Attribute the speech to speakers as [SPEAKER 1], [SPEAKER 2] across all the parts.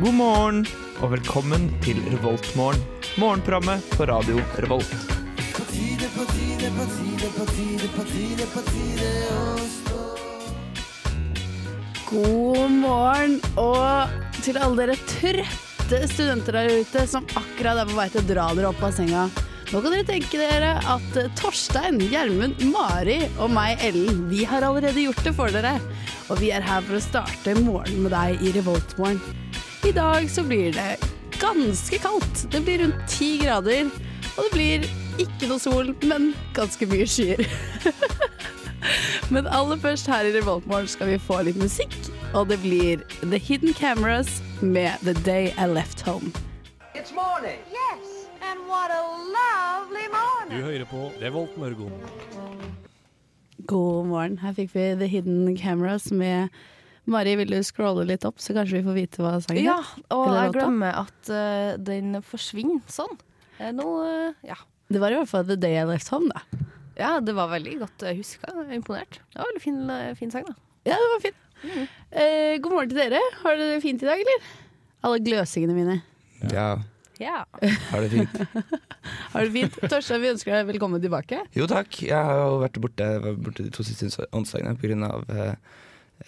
[SPEAKER 1] morgen og velkommen til Revoltmorgen. Morgenprogrammet på radio Revolt.
[SPEAKER 2] God morgen og til alle dere trøtte studenter der ute som akkurat er på vei til å dra dere opp av senga. Nå kan dere tenke dere at Torstein, Gjermund, Mari og meg, Ellen, vi har allerede gjort det for dere. Og vi er her for å starte morgenen med deg i Revoltmorgen. I dag så blir det ganske kaldt. Det blir rundt ti grader. Og det blir ikke noe sol, men ganske mye skyer. Men aller først her i Revoltmorgen skal vi få litt musikk, og det blir The Hidden Cameras med The Day I Left Home.
[SPEAKER 3] It's morning.
[SPEAKER 4] Yes, and what a lovely morning.
[SPEAKER 5] hører på Revolt Mørgon.
[SPEAKER 2] God morgen. Her fikk vi The Hidden Cameras med Mari, vil du scrolle litt opp, så kanskje vi får vite hva sangen
[SPEAKER 6] Ja,
[SPEAKER 2] er?
[SPEAKER 6] og
[SPEAKER 2] Eller
[SPEAKER 6] jeg
[SPEAKER 2] låta?
[SPEAKER 6] glemmer at eh, den forsvinner sånn. Eh, Nå, eh, ja.
[SPEAKER 2] Det var i hvert fall The Day I Left Home, da.
[SPEAKER 6] ja, det var veldig godt eh, huska. Jeg er Imponert. Det var veldig fin, eh, fin sang, da.
[SPEAKER 2] Ja, det var fint. Eh, god morgen til dere. Har dere det fint i dag, eller? Alle gløsingene mine.
[SPEAKER 1] Ja,
[SPEAKER 6] Ja.
[SPEAKER 1] har det fint.
[SPEAKER 2] Har du det fint? Torstein, vi ønsker deg velkommen tilbake.
[SPEAKER 1] Jo takk, jeg har jo vært borte, var borte de to siste onsdagene pga. Eh,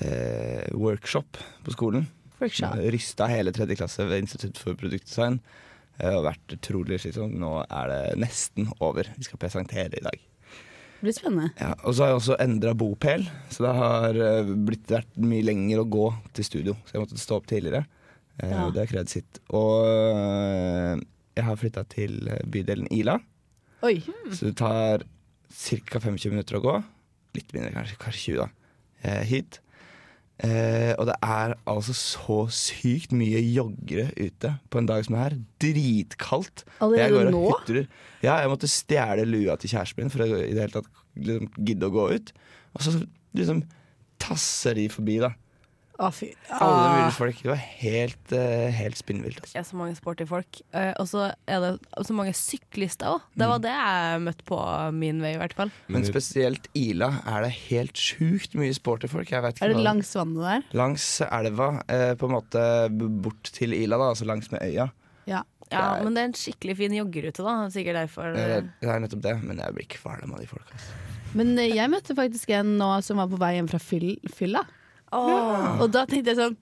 [SPEAKER 1] eh, workshop på skolen.
[SPEAKER 2] Workshop.
[SPEAKER 1] Rysta hele tredje klasse ved Institutt for produktdesign. Det har vært utrolig slitsomt. Nå er det nesten over. Vi skal presentere i dag.
[SPEAKER 2] Det blir spennende.
[SPEAKER 1] Ja, og så har jeg også endra bopel, så det har eh, blitt vært mye lenger å gå til studio. Så jeg måtte stå opp tidligere. Eh,
[SPEAKER 2] Ja.
[SPEAKER 1] og Det har krevd sitt. Og eh, jeg har flytta til eh, bydelen Ila,
[SPEAKER 2] Oi.
[SPEAKER 1] så det tar ca. 25 minutter å gå. Litt mindre, kanskje, kanskje 20, da. Eh, hit. Eh, og det er altså så sykt mye joggere ute på en dag som er her. Dritkaldt. Jeg går
[SPEAKER 2] Allerede
[SPEAKER 1] og
[SPEAKER 2] nå?
[SPEAKER 1] hutrer. Ja, jeg måtte stjele lua til kjæresten min for å i det hele tatt liksom, gidde å gå ut. Og så liksom tasser de forbi, da.
[SPEAKER 2] Å, fy.
[SPEAKER 1] Alle
[SPEAKER 2] Ah.
[SPEAKER 1] mulige folk. Det var helt, eh, helt spinnvilt. Altså.
[SPEAKER 6] Det er så mange sporty folk. Eh, og så er det så mange syklister òg. Det var det jeg møtte på min vei, i hvert fall.
[SPEAKER 1] Men spesielt Ila er det helt sjukt mye sporty folk. Jeg vet ikke
[SPEAKER 2] Er det
[SPEAKER 1] hva-
[SPEAKER 2] langs vannet der?
[SPEAKER 1] Langs elva, eh, på en måte b- bort til Ila, da, altså langs med øya.
[SPEAKER 2] Ja.
[SPEAKER 6] Ja,
[SPEAKER 1] Det er-
[SPEAKER 6] Men det er en skikkelig fin joggerute, da. Sikkert derfor.
[SPEAKER 1] Eh, Det er nettopp det, men jeg blir kvalm av de folka. altså.
[SPEAKER 2] Men eh, jeg møtte faktisk en nå som var på vei hjem fra fyll, fylla.
[SPEAKER 6] Åh.
[SPEAKER 2] Og da tenkte jeg sånn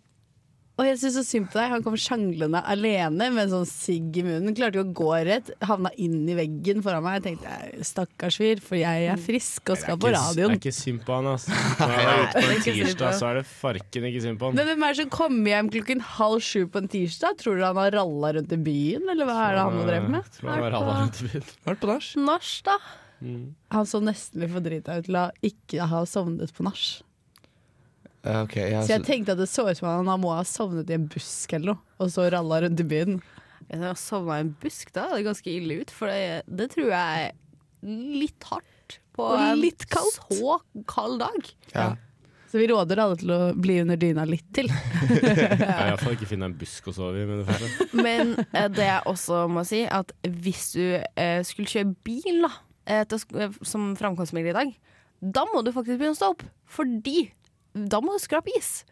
[SPEAKER 2] Å, jeg syns så synd på deg. Han kom sjanglende alene med en sånn sigg i munnen. Klarte jo å gå rett. Havna inn i veggen foran meg. Jeg tenkte "Nei, stakkars fyr, for jeg er frisk og skal på radioen.
[SPEAKER 7] Det er ikke synd på han, ass. Når han er ute på en tirsdag, så er det farken ikke synd på han.
[SPEAKER 2] Men hvem er det som kommer hjem klokken halv sju på en tirsdag? Tror du han har ralla rundt i byen, eller hva er det han har drevet med?
[SPEAKER 7] Eh, Tror han var alle rundt i byen.
[SPEAKER 1] Vært på nach?
[SPEAKER 6] Nach, da.
[SPEAKER 2] Han så nesten litt for drita ut til å ikke ha sovnet på nach.
[SPEAKER 1] Eh, Ok, ja,
[SPEAKER 7] Altså-
[SPEAKER 2] Så jeg
[SPEAKER 1] så-
[SPEAKER 2] tenkte at det så ut som han må ha sovnet i en busk eller noe, og så ralla rundt i byen.
[SPEAKER 6] Hvis jeg sovna i en busk, da er det ganske ille ut, for det, det tror jeg er litt hardt på
[SPEAKER 2] Og
[SPEAKER 6] en
[SPEAKER 2] litt kaldt.
[SPEAKER 6] så kald dag.
[SPEAKER 1] ja.
[SPEAKER 2] Så vi råder alle til å bli under dyna litt til.
[SPEAKER 7] Jeg har iallfall ikke funnet en busk å sove i. Men det får jeg se.
[SPEAKER 6] Men eh, det jeg også må si, at hvis du eh, skulle kjøre bil da, eh, til, sk- eh, som framkomstmiddel i dag, da må du faktisk begynne å stå opp, fordi da må du skrape is.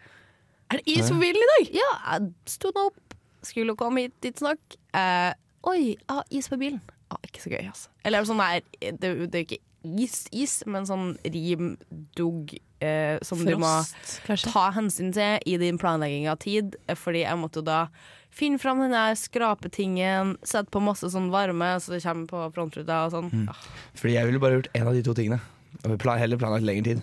[SPEAKER 6] Er det is på bilen i dag? Ja, jeg sto nå opp, skulle komme hit dit snakk. Eh, oi, jeg har is på bilen. Ah, ikke så gøy, altså. Eller sånn der, det, det er jo ikke is, is, men sånn rim, dugg, eh, som du må
[SPEAKER 2] kanskje.
[SPEAKER 6] ta hensyn til i din planlegging av tid, eh, fordi jeg måtte jo da finne fram den der skrapetingen, sette på masse sånn varme så det kommer på frontruta og sånn.
[SPEAKER 7] Mm.
[SPEAKER 6] Ah,
[SPEAKER 1] Fordi jeg ville bare gjort én av de to tingene. Og plan, heller planlagt lengre tid.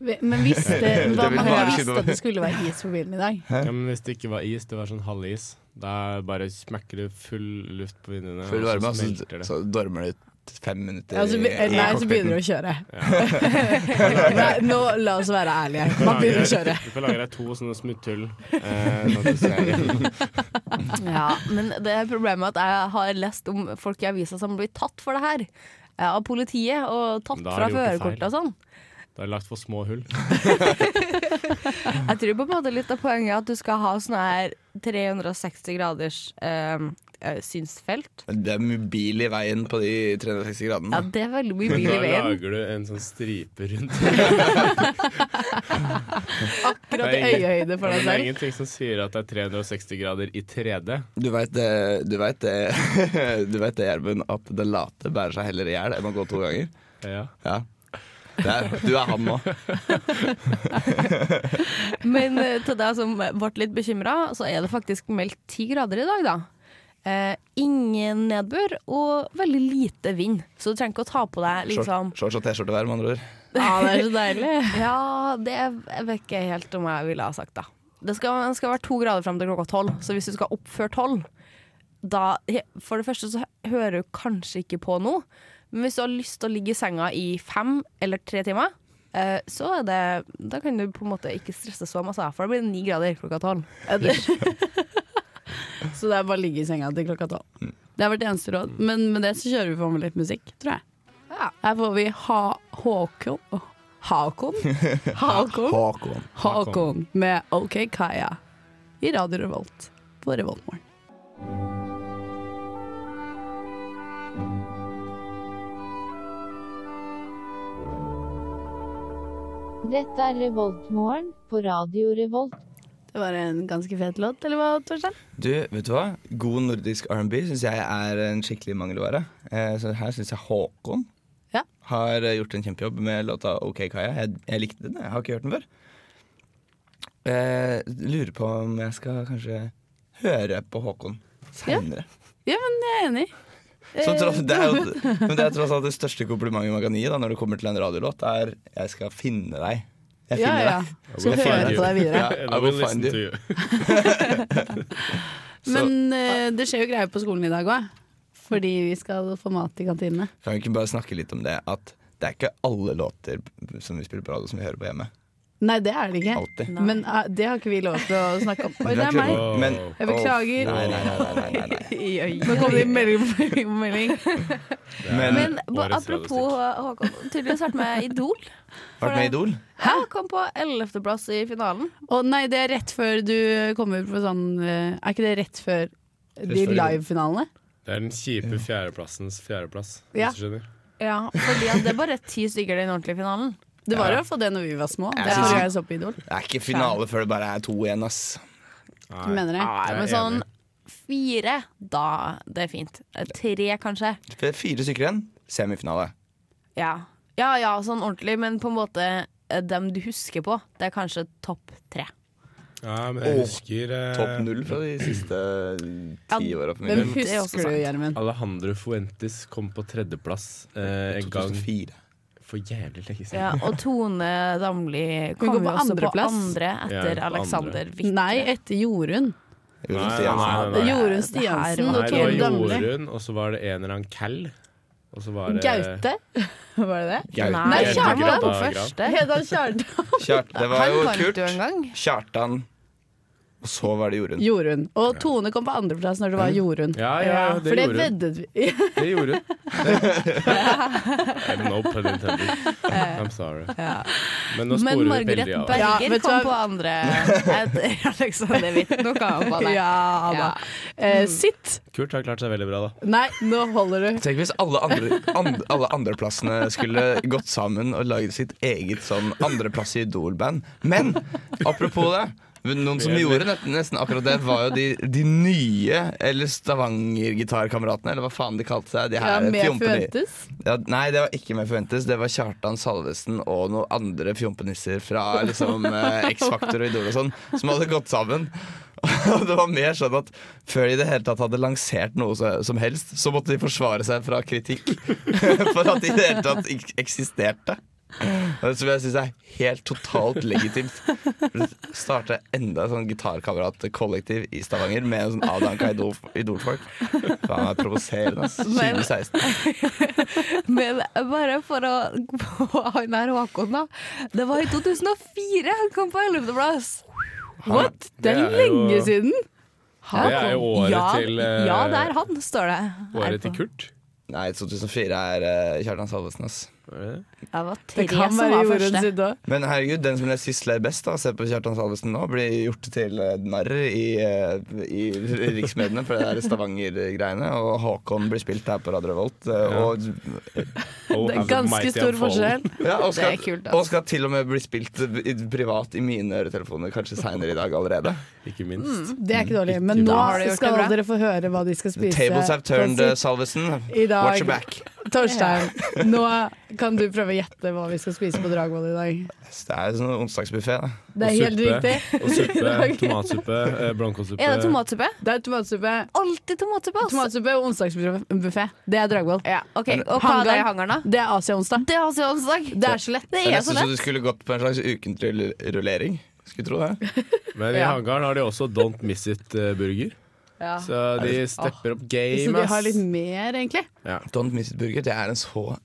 [SPEAKER 2] Men visste hva
[SPEAKER 1] Det vil
[SPEAKER 2] man
[SPEAKER 1] bare
[SPEAKER 2] visste
[SPEAKER 1] skyte
[SPEAKER 2] at det skulle være is på bilen i dag?
[SPEAKER 7] Ja, men hvis det ikke var is, det var sånn halvis, da bare smekker du full luft på vinduene,
[SPEAKER 1] Full varme, og
[SPEAKER 7] og så
[SPEAKER 1] så,
[SPEAKER 7] smelter det.
[SPEAKER 1] så dormer det ut fem minutter.
[SPEAKER 2] Ja, så, be-
[SPEAKER 1] i- i
[SPEAKER 2] Altså, eh, nei, så
[SPEAKER 1] cockpiten.
[SPEAKER 2] begynner du å kjøre. Nei, nå la oss være ærlige.
[SPEAKER 7] Du får
[SPEAKER 2] Man begynner å
[SPEAKER 7] lage-
[SPEAKER 2] kjøre.
[SPEAKER 7] Du får lage deg to sånne smutthull. Eh, sånn at du ser-
[SPEAKER 6] Ja, men det er problemet at jeg har lest om folk i avisa som blir tatt for det her. eh, Av politiet og tatt
[SPEAKER 7] Men da
[SPEAKER 6] fra
[SPEAKER 7] har de gjort det feil.
[SPEAKER 6] førerkortet og sånn.
[SPEAKER 7] du har lagt for små hull.
[SPEAKER 6] Jeg tror på en måte litt av poenget er at du skal ha sånn her 360 graders eh, eh, synsfelt.
[SPEAKER 1] Det er mye bil i veien på de 360
[SPEAKER 6] Ja,
[SPEAKER 1] gradene.
[SPEAKER 6] det er veldig mye
[SPEAKER 7] Men
[SPEAKER 6] bil
[SPEAKER 7] da
[SPEAKER 6] i veien.
[SPEAKER 7] lager du en sånn stripe rundt.
[SPEAKER 6] Akkurat i
[SPEAKER 7] Det er ingen-
[SPEAKER 6] øyehøyde for
[SPEAKER 7] Men
[SPEAKER 6] deg
[SPEAKER 7] det er
[SPEAKER 6] selv.
[SPEAKER 7] ingenting som sier at det er 360 grader i 3D.
[SPEAKER 1] Du veit det, du vet det, du vet det, Gjermund, at den late bærer seg heller i hjel enn å gå to ganger.
[SPEAKER 7] Ja.
[SPEAKER 1] Ja. Det er, du er han nå.
[SPEAKER 6] Men eh, til deg som ble litt bekymra, så er det faktisk meldt ti grader i dag, da. Eh, ingen nedbør og veldig lite vind, så du trenger ikke å ta på deg liksom
[SPEAKER 1] Short- Shorts og T-skjorte hver, med andre ord.
[SPEAKER 2] Ja, det er så deilig.
[SPEAKER 6] Ja, det vet ikke jeg helt om jeg ville ha sagt, da. Det skal, det skal være to grader fram til klokka tolv, så hvis du skal opp før tolv da, For det første så hører du kanskje ikke på noe, men hvis du har lyst til å ligge i senga i fem eller tre timer, eh, så er det Da kan du på en måte ikke stresse så masse, for da blir det ni grader klokka tolv.
[SPEAKER 2] Ja, det- Så det er bare å ligge i senga til klokka tolv.
[SPEAKER 7] Mm.
[SPEAKER 2] Det har vært det eneste råd. Men med det så kjører vi på med litt musikk, tror jeg.
[SPEAKER 6] Ja.
[SPEAKER 2] Her får vi ha Håkon Håkon? Håkon?
[SPEAKER 1] Håkon.
[SPEAKER 2] Håkon med OK Kaja i Radio Revolt på Revoltmorgen.
[SPEAKER 3] Dette er Revoltmorgen på Radio Revolt.
[SPEAKER 2] Det var en ganske fet låt, eller hva, Torstein?
[SPEAKER 1] Du, vet du hva? God nordisk R&B syns jeg er en skikkelig mangelvare. Eh, så her syns jeg Håkon
[SPEAKER 2] Ja.
[SPEAKER 1] har eh, gjort en kjempejobb med låta OK Kaja. Jeg, jeg likte den, jeg har ikke hørt den før. Eh, lurer på om jeg skal kanskje høre på Håkon seinere.
[SPEAKER 2] Ja, Eh. men jeg er enig.
[SPEAKER 1] Så tross- Det er jo men det er tross alt det største komplimentet man kan gi da, når det kommer til en radiolåt, er 'jeg skal finne deg'. Jeg
[SPEAKER 2] Ja,
[SPEAKER 1] finner
[SPEAKER 2] ja.
[SPEAKER 1] deg.
[SPEAKER 2] Så
[SPEAKER 7] Jeg
[SPEAKER 2] hører jeg på
[SPEAKER 7] finner
[SPEAKER 2] deg videre.
[SPEAKER 1] Ja,
[SPEAKER 7] And
[SPEAKER 1] I
[SPEAKER 7] I will
[SPEAKER 1] will find
[SPEAKER 7] listen
[SPEAKER 1] you.
[SPEAKER 7] to you.
[SPEAKER 1] Så
[SPEAKER 2] Men eh, det skjer jo greier på skolen i dag òg. Fordi vi skal få mat i kantinene.
[SPEAKER 1] kan vi ikke bare snakke litt om det at det er ikke alle låter som vi spiller på radio som vi hører på hjemme.
[SPEAKER 2] Nei, det er det ikke.
[SPEAKER 1] Alltid.
[SPEAKER 2] Men eh, det har ikke vi lov til å snakke om. Oi, det er meg.
[SPEAKER 7] meg.
[SPEAKER 1] Men,
[SPEAKER 2] Jeg beklager.
[SPEAKER 1] Nei, nei, nei, nei, nei, nei.
[SPEAKER 6] I øyet.
[SPEAKER 2] Nå kom det melding på melding på melding.
[SPEAKER 7] Det er
[SPEAKER 1] Men-
[SPEAKER 6] Men ba-
[SPEAKER 7] Eh, årets
[SPEAKER 6] apropos eh,
[SPEAKER 7] radiostykke.
[SPEAKER 6] Håkon, tydeligvis vært med i Idol.
[SPEAKER 1] Vært med i Idol?
[SPEAKER 6] Ja, kom på 11. plass i finalen.
[SPEAKER 2] Å nei, det er rett før du kommer på sånn eh, Er ikke det rett før de
[SPEAKER 1] før jul.
[SPEAKER 2] live-finalene?
[SPEAKER 7] Det er den kjipe fjerdeplassens fjerdeplass.
[SPEAKER 2] Ja.
[SPEAKER 7] Hvis du skjønner.
[SPEAKER 6] Ja, fordi at det er bare ti stykker i den ordentlige finalen.
[SPEAKER 2] Det var i hvert fall det når vi var små. Det
[SPEAKER 1] Jeg
[SPEAKER 2] er
[SPEAKER 1] synes-
[SPEAKER 2] forrige gang jeg så på Idol.
[SPEAKER 1] Det er ikke finale før det bare er to igjen, ass.
[SPEAKER 2] Du mener det?
[SPEAKER 6] Nei,
[SPEAKER 7] Jeg er
[SPEAKER 6] men sånn
[SPEAKER 7] enig.
[SPEAKER 6] fire, da det er fint. Eh, Tre, kanskje.
[SPEAKER 1] Det er Fire stykker igjen. Semifinale.
[SPEAKER 6] Ja. ja ja, sånn ordentlig, men på en måte eh, dem du husker på, det er kanskje topp tre.
[SPEAKER 7] Ja, men jeg
[SPEAKER 1] Åh,
[SPEAKER 7] husker eh,
[SPEAKER 1] Topp null fra de siste ti åra på min
[SPEAKER 2] Hvem
[SPEAKER 1] del.
[SPEAKER 6] det er også
[SPEAKER 2] husker du,
[SPEAKER 6] sant.
[SPEAKER 2] Gjermund?
[SPEAKER 7] Alejandro Fuentes kom på tredjeplass eh, en gang
[SPEAKER 1] 2004.
[SPEAKER 7] for jævlig lenge siden.
[SPEAKER 6] Ja, og Tone Damli
[SPEAKER 2] Hun kom
[SPEAKER 6] kom jo
[SPEAKER 2] på
[SPEAKER 6] også på
[SPEAKER 2] andreplass.
[SPEAKER 6] andre etter
[SPEAKER 7] Ja, på
[SPEAKER 6] Alexander
[SPEAKER 7] andre.
[SPEAKER 6] Witt.
[SPEAKER 2] Nei, etter Jorunn.
[SPEAKER 1] Jorunn
[SPEAKER 7] Nei,
[SPEAKER 1] Stiansen.
[SPEAKER 7] nei,
[SPEAKER 2] Det er
[SPEAKER 7] nei, nei.
[SPEAKER 2] Jorunn
[SPEAKER 6] Det
[SPEAKER 2] Stiansen
[SPEAKER 6] her
[SPEAKER 7] Nei,
[SPEAKER 2] og
[SPEAKER 7] det var
[SPEAKER 2] Tone Damli.
[SPEAKER 7] Jorunn, og så var det en eller annen Cal. Og så var det
[SPEAKER 2] Gaute? Var det det?
[SPEAKER 1] Gaute.
[SPEAKER 6] Nei,
[SPEAKER 2] Gaute
[SPEAKER 6] Kjartan
[SPEAKER 7] Grata
[SPEAKER 6] var på
[SPEAKER 7] Gran.
[SPEAKER 6] første.
[SPEAKER 2] Hedda Kjartan.
[SPEAKER 1] Kjart, det var
[SPEAKER 6] Han
[SPEAKER 1] jo
[SPEAKER 6] vant
[SPEAKER 1] kult.
[SPEAKER 6] jo en gang.
[SPEAKER 1] Kjartan. Og så var det Jorunn.
[SPEAKER 2] Jorunn. Og Tone kom på andreplass når det var Jorunn.
[SPEAKER 7] Ja, ja, det
[SPEAKER 2] For det
[SPEAKER 7] gjorde hun.
[SPEAKER 2] veddet vi
[SPEAKER 7] Det gjorde hun. no pun intended. I'm sorry. Men nå
[SPEAKER 6] Men
[SPEAKER 7] sporer vi
[SPEAKER 6] Margaret
[SPEAKER 7] veldig av.
[SPEAKER 6] Berger
[SPEAKER 2] Ja, vet du
[SPEAKER 6] kom
[SPEAKER 2] hva?
[SPEAKER 6] på andre etter Alexander Witt. Nå kan han på det.
[SPEAKER 2] Ja da. Eh, sitt!
[SPEAKER 7] Kurt har klart seg veldig bra, da.
[SPEAKER 2] Nei, nå holder du.
[SPEAKER 1] Tenk hvis alle, andre, and, alle andreplassene skulle gått sammen og laget sitt eget sånn andreplass i Idol-band. Men apropos det. Noen som gjorde nesten, nesten akkurat det, var jo de, de nye eller Stavanger-gitarkameratene, eller hva faen de kalte seg. De
[SPEAKER 2] Ja,
[SPEAKER 1] her
[SPEAKER 2] med
[SPEAKER 1] fjompeni-
[SPEAKER 2] forventes.
[SPEAKER 1] Ja, nei, det var ikke med forventes. Det var Kjartan Salvesen og noen andre fjompenisser fra liksom, eh, X-Faktor og Idol og sånn, som hadde gått sammen. Og det var mer sånn at før de i det hele tatt hadde lansert noe så- som helst, så måtte de forsvare seg fra kritikk for at de i det hele tatt ikke eksisterte. Som jeg syns er helt totalt legitimt. Starte enda et sånn gitarkameratkollektiv i Stavanger med en sånn avdanka idol- idolfolk. Faen, det er provoserende, ass.
[SPEAKER 6] Men-
[SPEAKER 1] 2016.
[SPEAKER 6] Men bare for å gå på han her Håkon, da. Det var i 2004 han kom på 11. plass.
[SPEAKER 2] What? Det er lenge siden!
[SPEAKER 6] Han
[SPEAKER 7] Det er jo
[SPEAKER 6] kom-
[SPEAKER 7] året
[SPEAKER 6] ja,
[SPEAKER 7] til, eh,
[SPEAKER 6] Ja, det er han, står det. her
[SPEAKER 7] Året til
[SPEAKER 6] på.
[SPEAKER 7] Kurt.
[SPEAKER 1] Nei, 2004 er eh, Kjartan Salvesen, ass.
[SPEAKER 6] Det var
[SPEAKER 2] Det
[SPEAKER 6] tre
[SPEAKER 2] kan
[SPEAKER 6] som
[SPEAKER 2] være
[SPEAKER 6] var
[SPEAKER 2] Jorunn
[SPEAKER 6] første.
[SPEAKER 2] sitt òg.
[SPEAKER 1] Men herregud, den som ble sist ler best, da. Se på Kjartan Salvesen nå. Blir gjort til eh, narr i, eh, i riksmediene for det der Stavanger-greiene. Og Håkon blir spilt her på Radio Revolt. eh, Og,
[SPEAKER 7] Oh,
[SPEAKER 2] Det er
[SPEAKER 7] have a
[SPEAKER 2] ganske
[SPEAKER 7] mighty
[SPEAKER 2] stor
[SPEAKER 7] and fallen.
[SPEAKER 2] forskjell.
[SPEAKER 1] ja, og, skal,
[SPEAKER 6] Det er kult, ass.
[SPEAKER 1] og skal til og med bli spilt i- privat i mine øretelefoner kanskje seinere i dag allerede.
[SPEAKER 7] Ikke minst.
[SPEAKER 2] Det er ikke dårlig. Men
[SPEAKER 7] Ikke
[SPEAKER 2] nå
[SPEAKER 7] bra.
[SPEAKER 6] har du gjort det
[SPEAKER 2] skal
[SPEAKER 6] bra.
[SPEAKER 2] dere få høre hva de
[SPEAKER 1] The
[SPEAKER 2] skal spise.
[SPEAKER 1] tables have turned, eh,
[SPEAKER 2] på sitt-
[SPEAKER 1] Salvesen.
[SPEAKER 2] I dag.
[SPEAKER 1] Watch your back.
[SPEAKER 2] Torstein, nå kan du prøve å gjette hva vi skal spise på Dragvoll i dag.
[SPEAKER 1] Det er jo sånn onsdagsbuffé, da.
[SPEAKER 2] Det er
[SPEAKER 7] Og
[SPEAKER 2] helt
[SPEAKER 7] suppe.
[SPEAKER 2] riktig.
[SPEAKER 7] Og suppe.
[SPEAKER 2] Ok.
[SPEAKER 7] Tomatsuppe. eh, Blankålsuppe.
[SPEAKER 6] Er det tomatsuppe?
[SPEAKER 2] Det er tomatsuppe.
[SPEAKER 6] Alltid tomatsuppe, ass.
[SPEAKER 2] Tomatsuppe og onsdagsbuffé. Det er Dragvoll.
[SPEAKER 6] Ja, ok. Og hva
[SPEAKER 2] Hangar.
[SPEAKER 6] er det i hangaren, da?
[SPEAKER 2] Det er Asia-onsdag.
[SPEAKER 6] Det har vi onsdag.
[SPEAKER 2] Det er så lett.
[SPEAKER 6] Det
[SPEAKER 1] Det er
[SPEAKER 6] er så
[SPEAKER 1] nesten så du
[SPEAKER 6] lett.
[SPEAKER 1] skulle gått på en slags ukentlig rullering. Skulle tro det.
[SPEAKER 7] Men i
[SPEAKER 2] Ja.
[SPEAKER 7] hangaren har de også Don't Miss It-burger.
[SPEAKER 2] Ja.
[SPEAKER 7] Så de stepper opp
[SPEAKER 2] Så
[SPEAKER 7] game,
[SPEAKER 2] de har
[SPEAKER 7] ass.
[SPEAKER 2] litt mer, egentlig.
[SPEAKER 1] Don't miss it burger, det er en så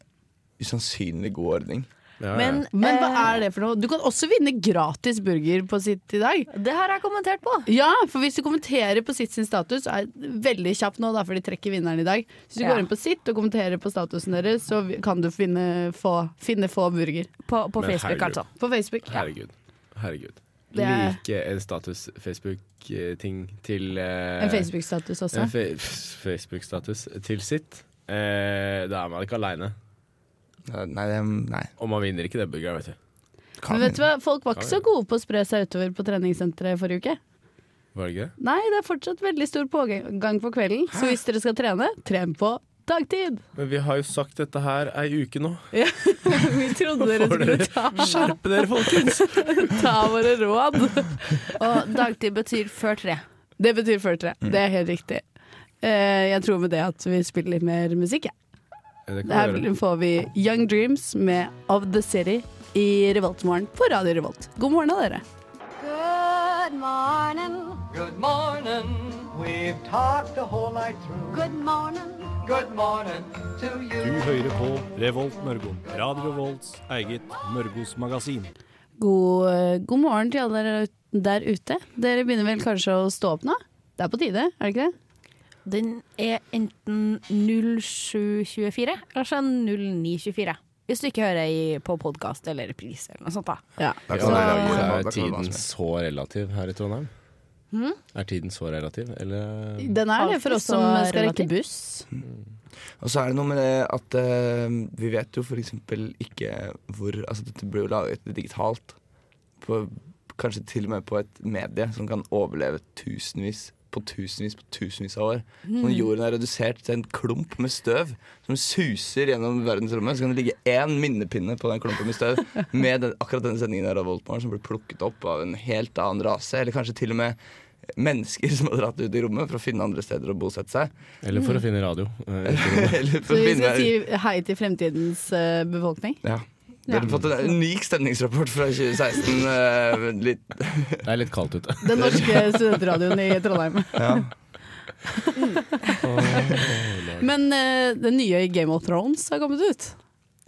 [SPEAKER 1] usannsynlig god ordning.
[SPEAKER 7] Ja, ja.
[SPEAKER 6] Men, eh,
[SPEAKER 2] Men hva er det for noe? Du kan også vinne gratis burger på sitt i dag.
[SPEAKER 6] det har jeg kommentert på.
[SPEAKER 2] Ja, for hvis du kommenterer på sitt sin status, er veldig kjapt nå, da, for de trekker vinneren i dag. Hvis du
[SPEAKER 6] Ja.
[SPEAKER 2] går inn på sitt og kommenterer på statusen deres, så vi- kan du finne få, finne få burger.
[SPEAKER 6] På, på
[SPEAKER 7] Men
[SPEAKER 6] Facebook,
[SPEAKER 7] herregud.
[SPEAKER 6] altså.
[SPEAKER 2] På Facebook.
[SPEAKER 7] Herregud. Herregud.
[SPEAKER 2] Det er-
[SPEAKER 7] Like en status Facebook-ting til eh,
[SPEAKER 2] En Facebook-status også.
[SPEAKER 7] en fe- Facebook-status til sitt. Eh, da er man ikke aleine.
[SPEAKER 1] Nei, det- nei.
[SPEAKER 7] Og man vinner ikke det burgeren, vet du.
[SPEAKER 1] Kan
[SPEAKER 2] Men vet du hva, folk var ikke så gode på å spre seg utover på treningssenteret forrige uke.
[SPEAKER 7] Var det ikke det?
[SPEAKER 2] Nei, det er fortsatt veldig stor pågang på kvelden, så hvis dere skal trene, tren på dagtid.
[SPEAKER 7] Men vi har jo sagt dette her ei uke nå.
[SPEAKER 2] Vi trodde dere
[SPEAKER 7] Får
[SPEAKER 2] skulle
[SPEAKER 7] dere-
[SPEAKER 2] ta,
[SPEAKER 7] Skjerp dere, folkens!
[SPEAKER 2] ta våre råd.
[SPEAKER 6] Og dagtid betyr før tre. Mm.
[SPEAKER 2] Det betyr før tre. Det er helt riktig. Eh, Jeg tror med det at vi spiller litt mer musikk, jeg.
[SPEAKER 7] Det
[SPEAKER 2] Her
[SPEAKER 7] kan vi gjøre.
[SPEAKER 2] får vi Young Dreams med Of The City i Revoltmorgen på Radio Revolt. God morgen, da, dere.
[SPEAKER 4] Good morning.
[SPEAKER 5] Good morning. We've talked the whole night through.
[SPEAKER 4] Good morning.
[SPEAKER 5] Good morning to you.
[SPEAKER 8] Du hører på Revolt Mørgo. Radio Revolts eget Mørgos magasin.
[SPEAKER 2] God, god morgen til alle dere der ute. Dere begynner vel kanskje å stå opp nå? Det er på tide, er det ikke det?
[SPEAKER 6] Den er enten 0724 eller så er den 0924. Hvis du ikke hører i, på podkast eller reprise eller noe sånt. da
[SPEAKER 2] Ja.
[SPEAKER 1] Da kan
[SPEAKER 7] Så
[SPEAKER 1] dere lage god mat,
[SPEAKER 7] er
[SPEAKER 1] da kan dere
[SPEAKER 7] Hmm?
[SPEAKER 1] lage
[SPEAKER 7] tiden
[SPEAKER 1] mat.
[SPEAKER 7] så relativ her i Trondheim? Er tiden så relativ, eller
[SPEAKER 2] Den er det for
[SPEAKER 6] Alltid
[SPEAKER 2] oss som
[SPEAKER 6] så
[SPEAKER 2] skal rekke
[SPEAKER 6] relativt.
[SPEAKER 2] buss.
[SPEAKER 1] Og så er det noe med det at eh, vi vet jo for eksempel ikke hvor Altså dette blir jo laget digitalt. På, kanskje til og med på et medie som kan overleve tusenvis på tusenvis på tusenvis av år. Så
[SPEAKER 2] Hmm.
[SPEAKER 1] når jorden er redusert til en klump med støv som suser gjennom verdensrommet, så kan det ligge én minnepinne på den klumpen med støv med den, akkurat denne sendingen av Revoltmorgen som blir plukket opp av en helt annen rase, eller kanskje til og med mennesker som har dratt ut i rommet for å finne andre steder å bosette seg.
[SPEAKER 7] Eller for å finne radio. Eh,
[SPEAKER 1] Eller for
[SPEAKER 2] Så
[SPEAKER 1] å
[SPEAKER 2] vi
[SPEAKER 1] finne
[SPEAKER 2] skal si hei til fremtidens eh, befolkning.
[SPEAKER 1] Ja. Dere har fått en unik stemningsrapport fra 2016. eh, litt.
[SPEAKER 7] Det er litt kaldt ute.
[SPEAKER 2] Den norske studentradioen i Trondheim. Men eh, det nye i Game of Thrones har kommet ut.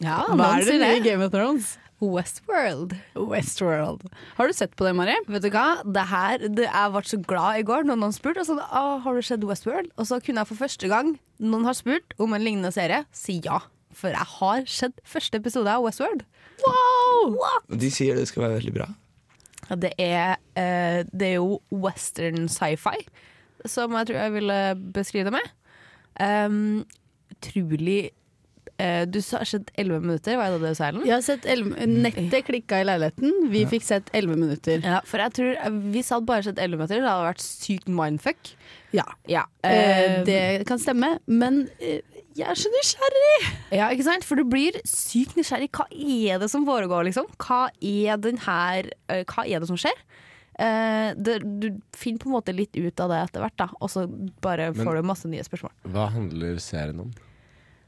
[SPEAKER 6] Ja,
[SPEAKER 2] Ah, Hva er det nye i Game of Thrones?
[SPEAKER 6] Westworld.
[SPEAKER 2] Westworld. Har du sett på det, Mari?
[SPEAKER 6] Vet du hva? Det her, det, jeg ble så glad i går når noen spurte. Og sånn, «Å, har du sett Westworld? Og så kunne jeg for første gang noen har spurt om en lignende serie, si ja. For jeg har sett første episode av Westworld. Wow!
[SPEAKER 1] Og De sier det skal være veldig bra.
[SPEAKER 6] Ja, Det er, eh, det er jo western sci-fi, som jeg tror jeg ville beskrive det med. Em, Utrolig eh, Du sa- har sett elleve minutter, var det det du sa, Ellen?
[SPEAKER 2] Jeg har sett 11 Nettet klikka i leiligheten. Vi fikk sett elleve minutter.
[SPEAKER 6] Ja, for jeg tror eh, Hvis jeg hadde bare sett elleve minutter, det hadde vært sykt mindfuck.
[SPEAKER 2] Ja.
[SPEAKER 6] Ja,
[SPEAKER 2] Eh,
[SPEAKER 6] eh,
[SPEAKER 2] det kan stemme, men eh, jeg er så nysgjerrig!
[SPEAKER 6] ja, ikke sant? For du blir sykt nysgjerrig. Hva er det som foregår, liksom? Hva er, den her, eh, hva er det som skjer? Eh, det, du finner på en måte litt ut av det etter hvert, da. Og så bare
[SPEAKER 7] Men-
[SPEAKER 6] får du masse nye spørsmål.
[SPEAKER 7] Hva handler serien om?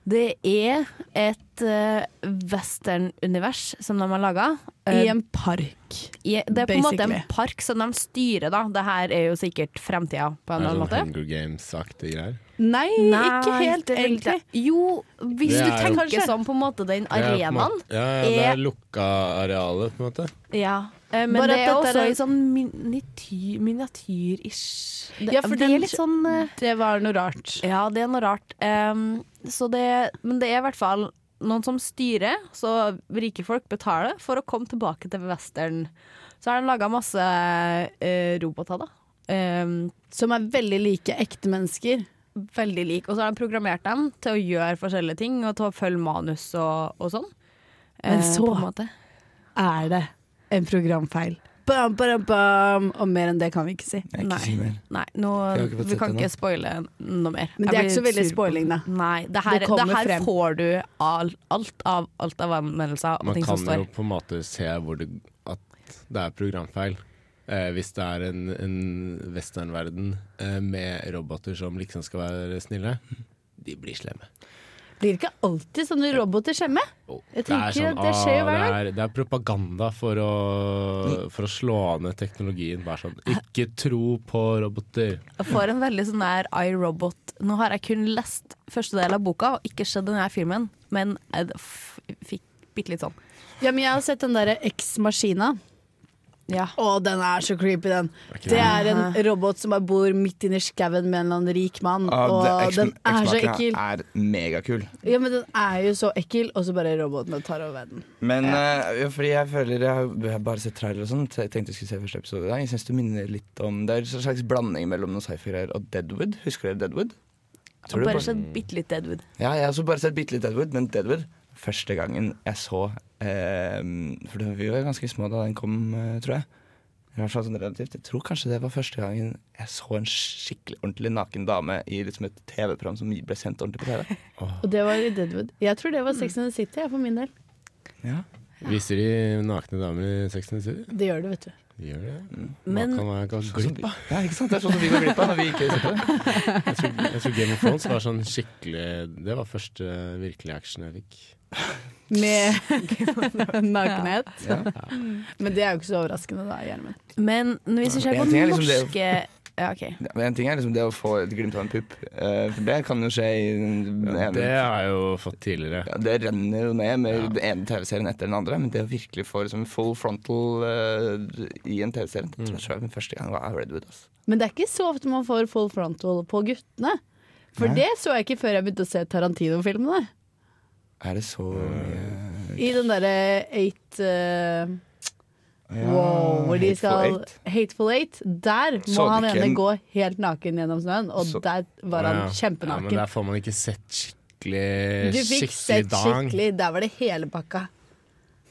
[SPEAKER 6] Det er et eh, western-univers som de har laga.
[SPEAKER 2] I en park.
[SPEAKER 6] det er på en måte en
[SPEAKER 2] basically.
[SPEAKER 6] park som de styrer, da. Det her er jo sikkert fremtida, på en eller annen måte.
[SPEAKER 7] sånn Hunger Games-aktige greier?
[SPEAKER 2] Nei, ikke
[SPEAKER 6] Nei,
[SPEAKER 2] helt,
[SPEAKER 6] det er vel ikke
[SPEAKER 2] egentlig.
[SPEAKER 6] det. Jo, hvis du
[SPEAKER 7] Det er jo-
[SPEAKER 6] tenker
[SPEAKER 2] Kanskje.
[SPEAKER 6] som på en måte den arenaen.
[SPEAKER 7] Ja, ja, det
[SPEAKER 6] er-
[SPEAKER 7] er lukka arealet, på en måte.
[SPEAKER 6] Ja. Eh, Men
[SPEAKER 2] Bare
[SPEAKER 6] det er
[SPEAKER 2] at dette
[SPEAKER 6] også
[SPEAKER 2] er-
[SPEAKER 6] i sånn miniatyr- miniatyr-ish. Det,
[SPEAKER 2] Ja, for
[SPEAKER 6] det
[SPEAKER 2] den-
[SPEAKER 6] er litt sånn eh,
[SPEAKER 2] Det var noe rart.
[SPEAKER 6] Ja, det er noe rart. Ehm, så det, men det er i hvert fall noen som styrer, så rike folk betaler for å komme tilbake til western. Så har de laga masse eh, roboter, da. Eh,
[SPEAKER 2] Som er veldig like ekte mennesker.
[SPEAKER 6] veldig like. Og så har de programmert dem til å gjøre forskjellige ting og til å følge manus og, og sånn.
[SPEAKER 2] Men
[SPEAKER 6] Eh,
[SPEAKER 2] så-
[SPEAKER 6] på en måte.
[SPEAKER 2] Er det en programfeil? Bam, bam, bam. Og mer enn det kan vi ikke si.
[SPEAKER 1] Jeg er ikke
[SPEAKER 6] Nei.
[SPEAKER 1] si mer.
[SPEAKER 6] Nei, nå,
[SPEAKER 1] Jeg har ikke fått
[SPEAKER 6] vi kan
[SPEAKER 1] sett det
[SPEAKER 6] ikke
[SPEAKER 1] nå.
[SPEAKER 6] spoile noe mer.
[SPEAKER 2] Men det
[SPEAKER 6] Jeg
[SPEAKER 2] er ikke så
[SPEAKER 6] blir
[SPEAKER 2] veldig
[SPEAKER 6] sur på
[SPEAKER 2] spoiling, da.
[SPEAKER 6] det. Nei, det her,
[SPEAKER 2] Det
[SPEAKER 6] det
[SPEAKER 2] kommer
[SPEAKER 6] her
[SPEAKER 2] frem.
[SPEAKER 6] får du all, alt av alt av anmeldelser og
[SPEAKER 7] Man
[SPEAKER 6] ting som
[SPEAKER 7] kan jo
[SPEAKER 6] står.
[SPEAKER 7] på en måte se hvor det, at det er programfeil. Eh, hvis det er en, en westernverden eh, med roboter som liksom skal være snille, de blir slemme.
[SPEAKER 2] Blir det ikke alltid sånne roboter skjemme?
[SPEAKER 7] Oh.
[SPEAKER 2] Jeg tenker at det skjer jo hver
[SPEAKER 7] det,
[SPEAKER 2] dag.
[SPEAKER 7] er, det er propaganda for å, for å slå ned teknologien. Bare sånn Ikke tro på roboter.
[SPEAKER 6] Jeg får en veldig sånn der iRobot. Nå har jeg kun lest første del av boka og ikke sett denne filmen, men jeg f fikk bitte litt sånn.
[SPEAKER 2] Ja, men jeg har sett den derre X-maskina.
[SPEAKER 6] Ja.
[SPEAKER 2] Å, den er så creepy, den.
[SPEAKER 7] ikke
[SPEAKER 2] Det er en robot som bare bor midt inni skauen med en eller annen rik mann.
[SPEAKER 1] Ah,
[SPEAKER 2] Og
[SPEAKER 1] det- X-Men-
[SPEAKER 2] den er så
[SPEAKER 1] X-Men-en
[SPEAKER 2] ekkel.
[SPEAKER 1] er megakul.
[SPEAKER 2] Ja, men den er jo så ekkel, og så bare robotene tar over verden.
[SPEAKER 1] Men eh, ja, fordi jeg føler Jeg har jeg har bare sett trailer og sånn. Jeg tenkte jeg skulle se første episode i dag. Jeg syns det minner litt om Det er en slags blanding mellom noen sci-fi-greier og Deadwood. Husker dere Deadwood? Tror
[SPEAKER 6] Og
[SPEAKER 1] du
[SPEAKER 6] bare
[SPEAKER 1] på-
[SPEAKER 6] sett bitte litt Deadwood.
[SPEAKER 1] Ja, jeg har også bare sett bitte litt Deadwood, men Deadwood Første gangen jeg så eh, For det- vi var ganske små da den kom, eh, tror jeg. I hvert fall sånn relativt. Jeg tror kanskje det var første gangen jeg så en skikkelig ordentlig naken dame i liksom et TV-program som ble sendt ordentlig på TV.
[SPEAKER 2] Og det var i Deadwood. Jeg tror det var Sex and the City, jeg, for min del.
[SPEAKER 1] Ja.
[SPEAKER 7] Viser de nakne damer i 60 sider?
[SPEAKER 2] Det gjør det, vet du.
[SPEAKER 7] De gjør det.
[SPEAKER 6] Men-
[SPEAKER 7] Hva kan være ganske
[SPEAKER 1] Sånn som
[SPEAKER 7] glipp
[SPEAKER 1] vi- Ja, ikke sant? Det er sånn som vi går glipp av når vi ikke sitter der.
[SPEAKER 7] Jeg tror, jeg tror Game of Thrones var sånn skikkelig Det var første virkelige action jeg fikk.
[SPEAKER 2] Med nakenhet.
[SPEAKER 1] Ja.
[SPEAKER 2] Men det er jo ikke så overraskende, da, Gjermund.
[SPEAKER 6] Men hvis vi ser
[SPEAKER 1] En
[SPEAKER 6] på
[SPEAKER 1] ting er liksom
[SPEAKER 6] norske
[SPEAKER 1] det-
[SPEAKER 6] Ja, OK.
[SPEAKER 1] Ja, Men en ting er liksom det å få et glimt av en pupp. eh, For det kan jo skje i den ene
[SPEAKER 7] Det har jeg jo fått tidligere.
[SPEAKER 1] ja, Det renner jo ned med den ene TV-serien etter den andre, men det å virkelig få liksom full frontal eh, i en TV-serie Det tror jeg var min første gang var Redwood. Altså.
[SPEAKER 2] Men det er ikke så ofte man får full frontal på guttene. For det så jeg ikke før jeg begynte å se Tarantino-filmene.
[SPEAKER 1] Er det så mye
[SPEAKER 2] I den derre Eight eh,
[SPEAKER 1] Ja,
[SPEAKER 2] Wow, hvor de
[SPEAKER 1] Hateful
[SPEAKER 2] skal
[SPEAKER 1] Eight.
[SPEAKER 2] Hateful Eight. Der må
[SPEAKER 1] Så
[SPEAKER 2] han
[SPEAKER 1] du ikke
[SPEAKER 2] ene
[SPEAKER 1] en-
[SPEAKER 2] gå helt naken gjennom snøen, og
[SPEAKER 1] Så-
[SPEAKER 2] der var han
[SPEAKER 7] Ja. Ja,
[SPEAKER 2] kjempenaken.
[SPEAKER 7] men der får man ikke sett Eh, skikkelig
[SPEAKER 2] du fikk sett
[SPEAKER 7] dang.
[SPEAKER 2] skikkelig, der var det hele pakka.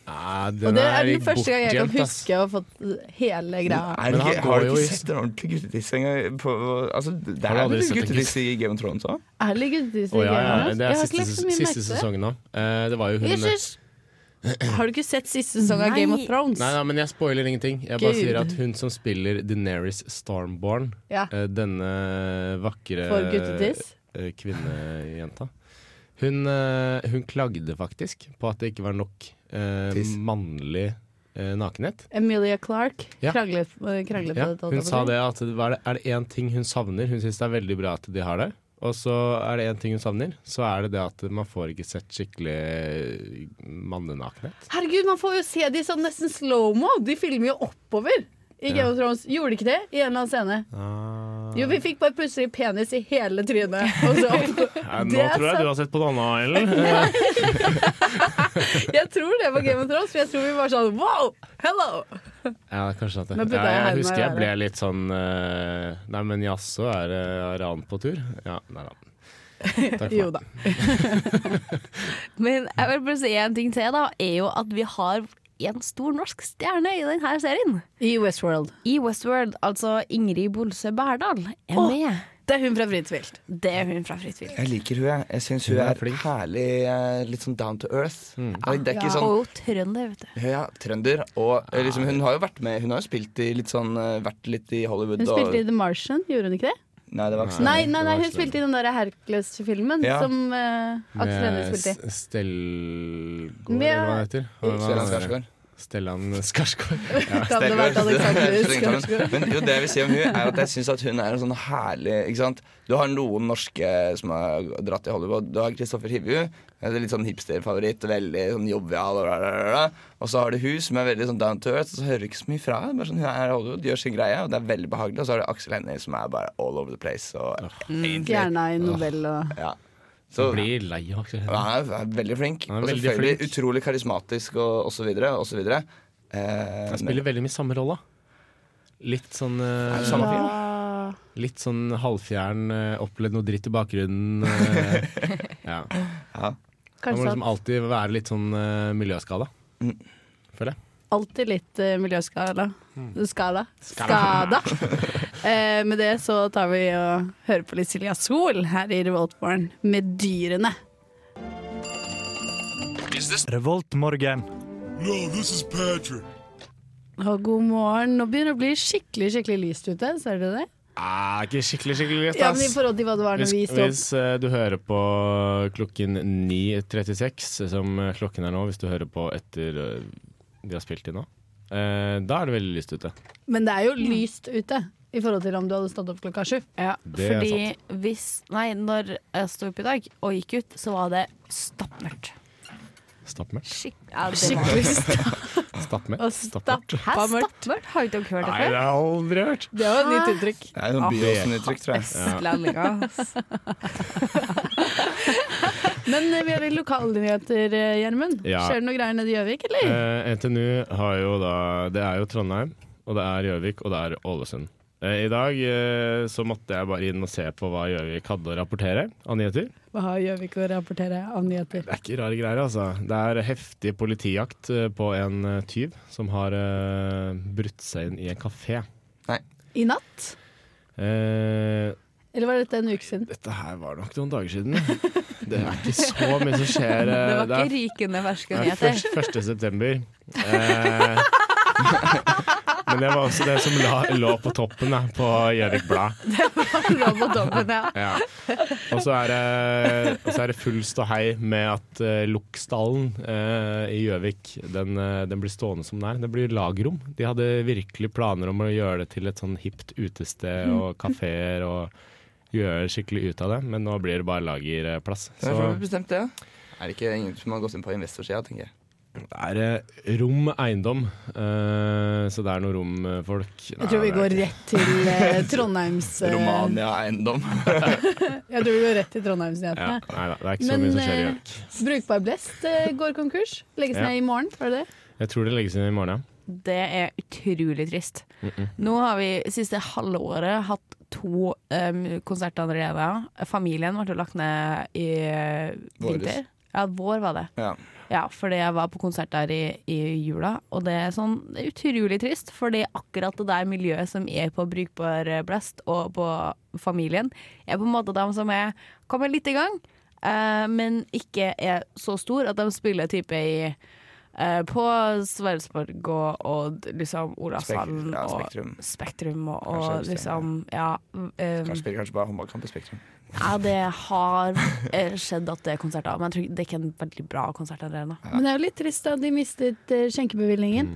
[SPEAKER 7] Nei, den
[SPEAKER 2] Og det
[SPEAKER 7] her
[SPEAKER 2] er den
[SPEAKER 7] gikk
[SPEAKER 2] første gang jeg kan
[SPEAKER 7] bortgjemt, ass.
[SPEAKER 2] huske å ha fått hele greia.
[SPEAKER 1] Er
[SPEAKER 7] Men
[SPEAKER 1] det
[SPEAKER 7] han
[SPEAKER 1] ikke,
[SPEAKER 7] går
[SPEAKER 1] har du
[SPEAKER 7] jo i-
[SPEAKER 1] ikke sett en ordentlig guttetiss engang? på- Altså, det
[SPEAKER 7] Har du
[SPEAKER 1] er
[SPEAKER 7] aldri
[SPEAKER 1] litt
[SPEAKER 7] sett en
[SPEAKER 1] guttetiss i Game of Thrones òg?
[SPEAKER 2] Ærlig guttetiss.
[SPEAKER 7] Å, ja, ja, ja. Det
[SPEAKER 2] jeg har
[SPEAKER 7] er
[SPEAKER 2] ikke
[SPEAKER 7] siste,
[SPEAKER 2] lagt så
[SPEAKER 7] ses-
[SPEAKER 2] mye merke
[SPEAKER 7] siste
[SPEAKER 2] til det.
[SPEAKER 7] sesongen nå. Eh, det var jo hun
[SPEAKER 2] Jesus! Har du ikke sett siste sesong av Game of
[SPEAKER 6] Nei.
[SPEAKER 2] Thrones?
[SPEAKER 7] Nei, nei, men jeg spoiler ingenting. Jeg bare
[SPEAKER 2] Gud.
[SPEAKER 7] sier at hun som spiller Deneris Stormborn,
[SPEAKER 2] Ja.
[SPEAKER 7] eh, denne vakre
[SPEAKER 2] For guttetiss?
[SPEAKER 7] eh, kvinnejenta, hun, eh, hun klagde faktisk på at det ikke var nok eh,
[SPEAKER 1] Tiss.
[SPEAKER 7] mannlig eh, nakenhet.
[SPEAKER 2] Emilia Clark
[SPEAKER 7] Ja.
[SPEAKER 2] krangler, krangler
[SPEAKER 7] Ja,
[SPEAKER 2] på dette. holdt jeg
[SPEAKER 7] hun
[SPEAKER 2] på å si.
[SPEAKER 7] sa det at hva er det, er det én ting hun savner? Hun syns det er veldig bra at de har det. Og så er det én ting hun savner, så er det det at man får ikke sett skikkelig eh, mannenakenhet.
[SPEAKER 2] Herregud, man får jo se de sånn nesten slow-mo. De filmer jo oppover. I Game of Thrones Gjorde de ikke det i en eller annen scene?
[SPEAKER 7] Ah.
[SPEAKER 2] Jo, vi fikk bare plutselig penis i hele trynet. Og så opp. Det er sant.
[SPEAKER 7] har sett på noe annet, Ellen.
[SPEAKER 2] Jeg tror det var Game of Thrones, for jeg tror vi var sånn wow! Hello!
[SPEAKER 7] ja, kanskje at det.
[SPEAKER 2] Men burde
[SPEAKER 7] Ja,
[SPEAKER 2] jeg ha
[SPEAKER 7] jeg
[SPEAKER 2] med
[SPEAKER 7] husker jeg
[SPEAKER 2] å
[SPEAKER 7] ble
[SPEAKER 2] være?
[SPEAKER 7] litt sånn eh, Nei, men jaså, er det er ran på tur? Ja, nei da. Takk for
[SPEAKER 2] Jo
[SPEAKER 7] meg.
[SPEAKER 2] da.
[SPEAKER 6] Men jeg vil bare si en ting til, da. Er jo at vi har en stor norsk stjerne i denne serien.
[SPEAKER 2] I Westworld.
[SPEAKER 6] I Westworld, altså Ingrid Bolse Berdal, er
[SPEAKER 2] Åh.
[SPEAKER 6] med.
[SPEAKER 2] Det er hun fra Fritt vilt.
[SPEAKER 6] Det er hun fra Fritt vilt.
[SPEAKER 1] Jeg liker hun, jeg. Jeg syns hun
[SPEAKER 7] Hun er
[SPEAKER 1] er
[SPEAKER 7] flink. Mm.
[SPEAKER 1] herlig eh, litt sånn down to earth. Det er ikke
[SPEAKER 2] Ja.
[SPEAKER 1] sånn
[SPEAKER 6] Og hun trønder, vet du.
[SPEAKER 1] Ja, trønder. Og eh, liksom, hun har jo vært med Hun har jo spilt i litt sånn eh, Vært litt i Hollywood
[SPEAKER 2] Hun spilte i The Martian, gjorde hun ikke det?
[SPEAKER 1] og Nei, det var ikke sånn.
[SPEAKER 2] Nei, nei, nei
[SPEAKER 7] det var
[SPEAKER 2] hun
[SPEAKER 7] ikke det.
[SPEAKER 2] spilte i den der Hercules-filmen
[SPEAKER 1] Ja.
[SPEAKER 2] som uh, Atle Hennie
[SPEAKER 7] Med
[SPEAKER 2] spilte i.
[SPEAKER 7] S- Stellgård,
[SPEAKER 2] Med-
[SPEAKER 7] eller hva det heter. Hva- hva
[SPEAKER 1] Stellan
[SPEAKER 7] er det?
[SPEAKER 1] Skarsgård.
[SPEAKER 7] Stellan Skarsgård.
[SPEAKER 2] Kan det vært Alexander
[SPEAKER 1] Strengt
[SPEAKER 2] Skarsgård?
[SPEAKER 1] tatt. Men jo, det jeg vil si om hun er at jeg syns at hun er en sånn herlig ikke sant? Du har noen norske som har dratt i Hollywood. Du har Kristoffer Hivju. eh, Litt sånn hipsterfavoritt. Veldig sånn jovial. Og, blablabla. og så har du hun som er veldig sånn down to earth. Og så hører du ikke så mye fra henne. Bare sånn, hun er i Hollywood, gjør sin greie, og det er veldig behagelig. Og så har du Aksel Hennie som er bare all over the place. Og, egentlig-
[SPEAKER 2] Stjerna i Nobel og
[SPEAKER 1] Ja. Så
[SPEAKER 7] Blir lei av
[SPEAKER 1] Ja, han er, er veldig flink.
[SPEAKER 7] Han er
[SPEAKER 1] og
[SPEAKER 7] veldig
[SPEAKER 1] selvfølgelig
[SPEAKER 7] flink.
[SPEAKER 1] utrolig karismatisk og, og så videre. Og så videre. Eh,
[SPEAKER 7] Han spiller veldig mye samme rolle. Litt sånn eh,
[SPEAKER 1] men, samme film.
[SPEAKER 2] Ah,
[SPEAKER 7] Litt sånn halvfjern, eh, opplevd noe dritt i bakgrunnen. eh, ja. Man må
[SPEAKER 2] Kanskje
[SPEAKER 7] liksom alltid være litt sånn eh, miljøskada.
[SPEAKER 1] Mm.
[SPEAKER 7] Føler jeg.
[SPEAKER 2] alltid litt eh, miljøskala. Skala. Skada. eh, med det så tar vi og hører på litt Silja Sol her i Revoltborn med dyrene.
[SPEAKER 8] Revoltmorgen.
[SPEAKER 2] Og god morgen. Nå begynner det å bli skikkelig skikkelig lyst ute. Ser du det?
[SPEAKER 7] Ah, ikke skikkelig, skikkelig lett,
[SPEAKER 2] Ja, men I forhold til hva det var når
[SPEAKER 7] Hvis,
[SPEAKER 2] vi sto opp.
[SPEAKER 7] hvis eh, du hører på klokken 9.36, som eh, klokken er nå, hvis du hører på etter eh, vi har spilt inn nå, eh, da er det veldig lyst ute.
[SPEAKER 2] Men det er jo lyst ute i forhold til om du hadde stått opp klokka sju.
[SPEAKER 6] Ja,
[SPEAKER 7] Det er
[SPEAKER 6] fordi hvis Nei, når jeg sto opp i dag og gikk ut, så var det stappmørkt.
[SPEAKER 7] Stappmørkt.
[SPEAKER 6] Skikk, ja, det var-
[SPEAKER 2] Skikkelig sta-
[SPEAKER 7] Stappmørkt.
[SPEAKER 2] og
[SPEAKER 7] Stappmørkt.
[SPEAKER 2] stappmørkt.
[SPEAKER 6] Hæ, stappmørkt? Har du ikke hørt det
[SPEAKER 7] Nei, det
[SPEAKER 6] før?
[SPEAKER 7] har jeg aldri hørt.
[SPEAKER 2] Det var et nytt uttrykk.
[SPEAKER 1] Det er noe Byåsen-uttrykk, tror jeg.
[SPEAKER 6] Østlendinger. ass.
[SPEAKER 2] Men eh, vi har litt lokalnyheter, eh, Gjermund.
[SPEAKER 7] Ja.
[SPEAKER 2] Skjer det noe greier nede i Gjøvik, eller?
[SPEAKER 7] Eh, NTNU har jo da Det er jo Trondheim, og det er Gjøvik, og det er Ålesund. Eh, I dag eh, så måtte jeg bare inn og se på hva Gjøvik hadde å rapportere av nyheter.
[SPEAKER 2] Hva har Gjøvik å rapportere av nyheter?
[SPEAKER 7] Det er ikke rare greier, altså. Det er heftig politijakt eh, på en eh, tyv som har eh, brutt seg inn i en kafé.
[SPEAKER 2] I natt?
[SPEAKER 7] Eh,
[SPEAKER 2] Eller var dette en uke siden?
[SPEAKER 7] dette her var nok noen dager siden. Det er ikke så mye som skjer.
[SPEAKER 6] Det
[SPEAKER 7] eh,
[SPEAKER 6] var
[SPEAKER 7] det er
[SPEAKER 6] ikke rykende ferske
[SPEAKER 7] Nei,
[SPEAKER 6] nyheter.
[SPEAKER 7] først, 1. september. Eh, men det var også det som la, lå på toppen da, på Gjøvik Blad.
[SPEAKER 6] Robotdommen, ja.
[SPEAKER 7] Ja. Og så er, det- og så er det full ståhei med at uh, Loksdalen eh, i Gjøvik den, eh, den blir stående som den er. Det blir lagrom. De hadde virkelig planer om å gjøre det til et sånn hipt utested og kafeer. og Gjøre skikkelig ut av det, men nå blir det bare lagerplass.
[SPEAKER 1] Hvem
[SPEAKER 7] Så
[SPEAKER 1] har bestemt det? da? Er det ikke ingen som har gått inn på investorsida, tenker jeg.
[SPEAKER 7] Det er eh, rom eiendom, eh, så det er noe romfolk.
[SPEAKER 2] Jeg tror vi går rett til eh, Trondheims eh,
[SPEAKER 1] Romania Eiendom.
[SPEAKER 2] Jeg tror vi går rett til
[SPEAKER 7] ja,
[SPEAKER 2] Trondheimsnyhetene.
[SPEAKER 7] Nei da, det er ikke så
[SPEAKER 2] Men,
[SPEAKER 7] mye som skjer i
[SPEAKER 2] eh,
[SPEAKER 7] Gjøvik.
[SPEAKER 2] Brukbar Blest eh, går konkurs. Legges
[SPEAKER 7] Ja.
[SPEAKER 2] ned i morgen, var det det?
[SPEAKER 7] Jeg tror det legges inn i morgen. ja.
[SPEAKER 6] Det er utrolig trist. Nå har vi siste halve året hatt to um, konserter allerede. Familien ble jo lagt ned i eh,
[SPEAKER 1] Våres.
[SPEAKER 6] vinter. Ja, vår var det.
[SPEAKER 1] Ja.
[SPEAKER 6] Ja, fordi jeg var på konsert der i, i jula, og det er sånn det er utrolig trist. Fordi akkurat det der miljøet som er på Brukbar Blast og på familien, er på en måte dem som er kommer litt i gang, eh, men ikke er så stor at de spiller type i eh, på Sverresborg og, og liksom Olavshallen
[SPEAKER 1] Spek- ja, Spektrum.
[SPEAKER 6] og Spektrum og,
[SPEAKER 1] Kanskje
[SPEAKER 6] og
[SPEAKER 1] Øystein,
[SPEAKER 6] liksom Ja. eh,
[SPEAKER 1] Kanskje spiller kanskje bare håndballkamp i Spektrum.
[SPEAKER 6] ja, det har eh, skjedd at det er konserter, men jeg tror ikke- det er ikke en veldig bra konsertarena.
[SPEAKER 2] Men det er jo litt trist da de mistet eh, skjenkebevilgningen.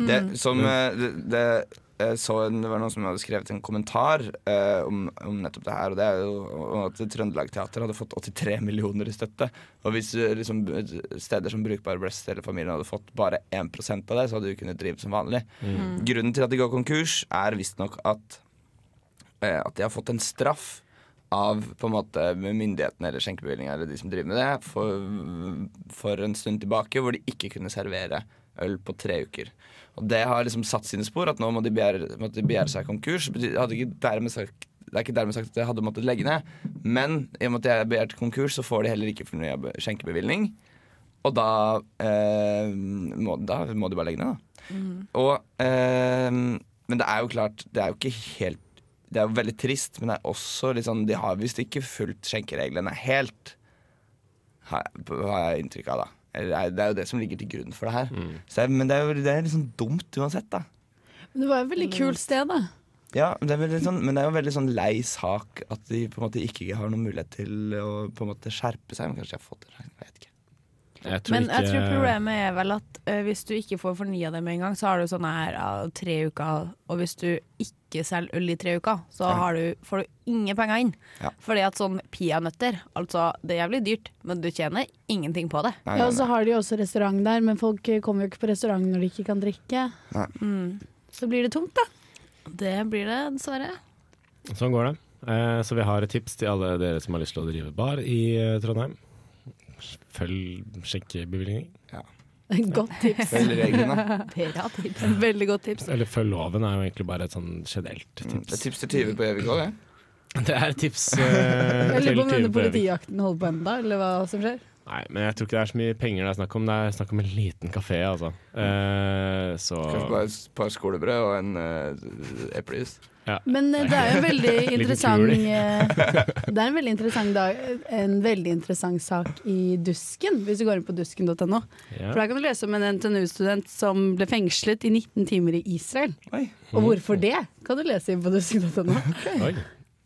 [SPEAKER 7] Mm.
[SPEAKER 1] Det, som, eh, det, det, jeg så en, det var noen som hadde skrevet en kommentar eh, om, om nettopp det her. Og det er jo om at Trøndelag Teater hadde fått 83 millioner i støtte. Og hvis eh, liksom, steder som Brukbar Blest eller familien hadde fått bare 1 av det, så hadde de kunnet drive som vanlig. Grunnen til at de går konkurs, er visstnok at, eh, at de har fått en straff. Av på en måte myndighetene eller skjenkebevilgninga eller de som driver med det, for, for en stund tilbake, hvor de ikke kunne servere øl på tre uker. Og det har liksom satt sine spor, at nå må de begjære, måtte de begjære seg konkurs. Bety- Hadde ikke dermed sagt, det er ikke dermed sagt at jeg hadde måttet legge ned, men i og med at jeg begjærte konkurs, så får de heller ikke fornya be- skjenkebevilgning. Og da, eh, må, da må de bare legge ned, da. Og, eh, men det er jo klart, det er jo ikke helt Det er jo veldig trist, men det er også litt sånn De har visst ikke fulgt skjenkereglene helt, har jeg- har jeg inntrykk av, da. Eller Det er- det er jo det som ligger til grunn for det her. Så det er, men det er jo det er litt sånn dumt uansett, da.
[SPEAKER 2] Men det var et veldig kult sted, da.
[SPEAKER 1] Ja, men det, er veldig sånn, men det er jo veldig sånn lei sak at de på en måte ikke har noen mulighet til å på en måte skjerpe seg. Men kanskje de har fått det, jeg vet ikke.
[SPEAKER 7] Jeg tror
[SPEAKER 6] Men jeg
[SPEAKER 7] ikke-
[SPEAKER 6] tror problemet er vel at eh, hvis du ikke får fornya det med en gang, så har du sånn her ja, tre uker, og hvis du ikke selger øl i tre uker, så
[SPEAKER 1] Ja.
[SPEAKER 6] har du, får du ingen penger inn.
[SPEAKER 1] Ja.
[SPEAKER 6] Fordi at sånn peanøtter, altså det er jævlig dyrt, men du tjener ingenting på det.
[SPEAKER 1] Nei,
[SPEAKER 2] Ja,
[SPEAKER 1] nei,
[SPEAKER 2] og så har de jo også restaurant der, men folk eh, kommer jo ikke på restaurant når de ikke kan drikke.
[SPEAKER 1] Nei.
[SPEAKER 2] Mm. Så blir det tomt, da.
[SPEAKER 6] Det blir det, dessverre.
[SPEAKER 7] Sånn går det. Eh, Så vi har et tips til alle dere som har lyst til å drive bar i eh, Trondheim. Følg skjenkebevilgning.
[SPEAKER 2] Godt tips.
[SPEAKER 1] Følg reglene.
[SPEAKER 2] Bra tips. Veldig godt tips.
[SPEAKER 7] Eller følg loven er jo egentlig bare et sånn generelt
[SPEAKER 1] Mm, Det er
[SPEAKER 7] tips.
[SPEAKER 1] tips til tyver på Gjøvik òg, det.
[SPEAKER 7] Det er et tips eh,
[SPEAKER 2] Jeg lurer
[SPEAKER 7] til
[SPEAKER 2] på om denne
[SPEAKER 7] tyver på øving.
[SPEAKER 2] politijakten holder på ennå, eller hva som skjer.
[SPEAKER 7] Nei, men jeg tror ikke det er så mye penger det er snakk om. Det er snakk om en liten kafé, altså. Eh, så
[SPEAKER 1] Kanskje bare et par skolebrød og en uh, eplejus.
[SPEAKER 2] Men eh, det er jo en veldig
[SPEAKER 7] Liten
[SPEAKER 2] interessant
[SPEAKER 7] kul.
[SPEAKER 2] eh, Det er en veldig interessant, dag, en veldig interessant sak i Dusken, hvis du går inn på dusken.no. For
[SPEAKER 7] ja.
[SPEAKER 2] Der kan du lese om en NTNU-student som ble fengslet i 19 timer i Israel.
[SPEAKER 1] Oi.
[SPEAKER 7] Mm.
[SPEAKER 2] Og hvorfor det, kan du lese inn på dusken.no.
[SPEAKER 7] Oi.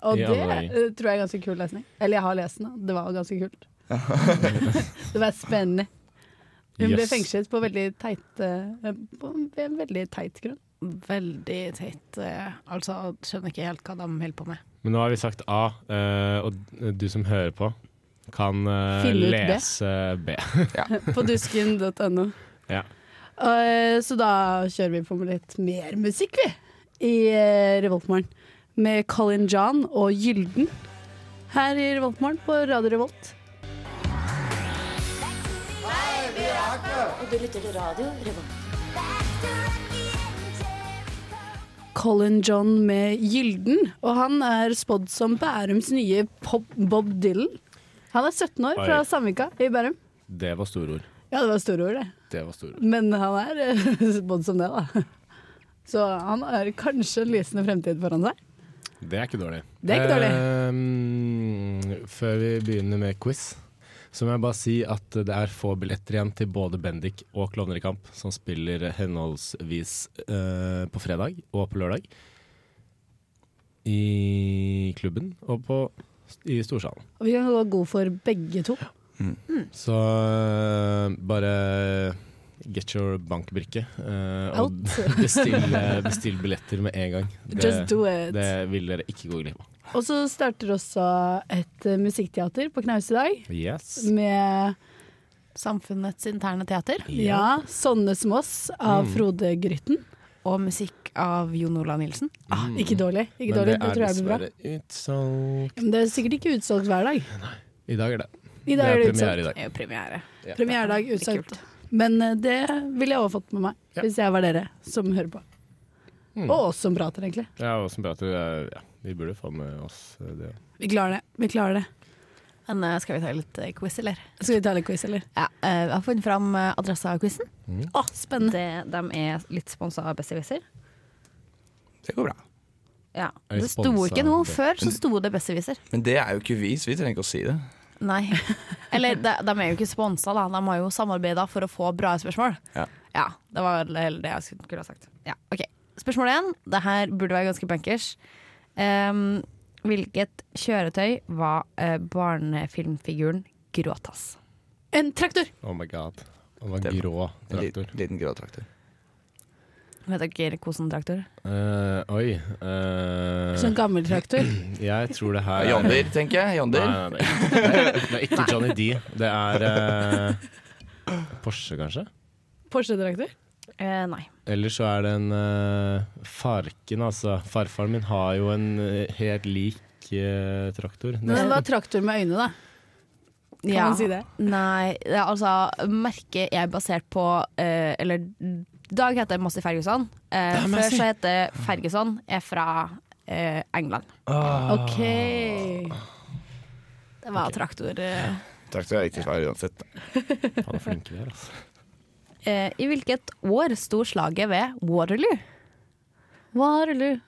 [SPEAKER 2] Og
[SPEAKER 7] I
[SPEAKER 2] det
[SPEAKER 7] alle dager.
[SPEAKER 2] eh, tror jeg er ganske kul lesning. Eller jeg har lest den, og det var ganske kult. det var spennende. Hun ble
[SPEAKER 7] Yes.
[SPEAKER 2] fengslet på veldig teit eh, På en veldig teit grunn.
[SPEAKER 6] Veldig teit. eh, Altså, skjønner ikke helt hva de holder på med.
[SPEAKER 7] Men nå har vi sagt A, eh, og du som hører på, kan eh,
[SPEAKER 2] Finne ut B.
[SPEAKER 7] lese B.
[SPEAKER 2] På dusken.no.
[SPEAKER 7] Ja.
[SPEAKER 2] Eh, Så da kjører vi på med litt mer musikk, vi, i eh, Revoltmorgen. Med Colin John og Gylden her i Revoltmorgen på Radio Revolt.
[SPEAKER 9] Du lytter til radio Revolt.
[SPEAKER 2] Colin John med Gylden, og han er spådd som Bærums nye pop Bob Dylan. Han er 17 år, fra
[SPEAKER 7] Oi.
[SPEAKER 2] Sandvika i Bærum.
[SPEAKER 7] Det var store ord.
[SPEAKER 2] Ja, det var store ord, det.
[SPEAKER 7] Det var store ord.
[SPEAKER 2] Men han er eh, spådd som det, da. Så han har kanskje en lysende fremtid foran seg.
[SPEAKER 7] Det er ikke dårlig.
[SPEAKER 2] Det er ikke dårlig.
[SPEAKER 7] Eh, før vi begynner med quiz, så må jeg bare si at det er få billetter igjen til både Bendik og Klovner i kamp, som spiller henholdsvis eh, på fredag og på lørdag. I klubben og på, i storsalen.
[SPEAKER 2] Og vi kan gå god for begge to.
[SPEAKER 7] Så eh, bare get your bankbrikke eh, og
[SPEAKER 2] Out.
[SPEAKER 7] bestill, eh, bestill billetter med en gang.
[SPEAKER 2] Just do it.
[SPEAKER 7] det vil dere ikke gå glipp av.
[SPEAKER 2] Og så starter også et eh, musikkteater på Knaus i dag.
[SPEAKER 7] Yes.
[SPEAKER 2] Med
[SPEAKER 6] Samfunnets interne teater
[SPEAKER 2] ja, 'Sånne som oss' av
[SPEAKER 7] Mm.
[SPEAKER 2] Frode Grytten.
[SPEAKER 6] og musikk av Jon Olav Nilsen.
[SPEAKER 2] Ah, ikke dårlig. Ikke
[SPEAKER 7] Mm. Men
[SPEAKER 2] dårlig, det, tror jeg blir bra.
[SPEAKER 7] dessverre utsolgt.
[SPEAKER 2] Ja, Men det er sikkert ikke utsolgt hver dag.
[SPEAKER 7] I dag er det.
[SPEAKER 2] I dag er det utsolgt.
[SPEAKER 7] premiere i dag.
[SPEAKER 6] Det er jo premiere.
[SPEAKER 2] Premieredag utsolgt. Men eh, det ville jeg også fått med meg,
[SPEAKER 7] Ja.
[SPEAKER 2] hvis jeg var dere som hører på.
[SPEAKER 7] Mm.
[SPEAKER 2] Og oss som prater, egentlig.
[SPEAKER 7] Ja, og som prater, eh, ja, vi burde få med oss eh, det.
[SPEAKER 2] Vi klarer det. Vi klarer det.
[SPEAKER 6] Men eh, skal vi ta litt eh, quiz, eller?
[SPEAKER 2] Skal vi ta litt quiz, eller?
[SPEAKER 6] Ja, eh, jeg har funnet fram eh, Adressa-quizen.
[SPEAKER 2] Å, spennende.
[SPEAKER 10] Det, de er litt sponsa av Besserwisser.
[SPEAKER 1] Det går bra.
[SPEAKER 10] Ja.
[SPEAKER 7] Er de
[SPEAKER 10] Det sto
[SPEAKER 7] sponset
[SPEAKER 10] ikke
[SPEAKER 7] av
[SPEAKER 10] noe
[SPEAKER 7] det?
[SPEAKER 10] før, så sto det Besserwisser.
[SPEAKER 1] Men det er jo ikke vi, så vi trenger ikke å si det.
[SPEAKER 10] Nei.
[SPEAKER 6] Eller de, de er jo ikke sponsa, da. De har jo samarbeida for å få bra spørsmål.
[SPEAKER 1] Ja.
[SPEAKER 6] Det var vel heller det jeg skulle- skulle ha sagt. Ja, ok. Spørsmål én. Det her burde være ganske bankers.
[SPEAKER 10] Ehm, hvilket kjøretøy var eh, barnefilmfiguren Gråtass?
[SPEAKER 2] En traktor!
[SPEAKER 7] Oh my god. Det var
[SPEAKER 1] Det-
[SPEAKER 7] en grå
[SPEAKER 1] En
[SPEAKER 7] traktor.
[SPEAKER 1] liten, liten grå traktor.
[SPEAKER 10] Vet dere hvilken traktor?
[SPEAKER 7] Eh, oi. eh,
[SPEAKER 2] Sånn gammel traktor.
[SPEAKER 7] jeg tror det her
[SPEAKER 1] Ja, John Deere, tenker jeg. John
[SPEAKER 7] Nei,
[SPEAKER 1] Deere.
[SPEAKER 7] nei, nei. Det er- Det er ikke Johnny D. Det er eh, Porsche, kanskje?
[SPEAKER 2] Porsche-traktor.
[SPEAKER 10] Eh, nei.
[SPEAKER 7] Eller så er det en eh, Farken, altså. Farfaren min har jo en eh, helt lik eh, traktor.
[SPEAKER 2] Men det var traktor med øyne, da. Kan
[SPEAKER 10] Ja.
[SPEAKER 2] man si det?
[SPEAKER 10] Nei, det er altså Merket er basert på eh, Eller Dag heter Massey Ferguson. Eh,
[SPEAKER 7] Det er
[SPEAKER 10] før
[SPEAKER 7] Massey.
[SPEAKER 10] så heter Ferguson er fra eh, England.
[SPEAKER 7] Ah.
[SPEAKER 2] OK.
[SPEAKER 10] Det var traktor. eh.
[SPEAKER 1] Traktor er riktig svar uansett.
[SPEAKER 7] Han er flink vi er, altså.
[SPEAKER 10] Eh, I hvilket år sto slaget ved Waterloo? Waterloo.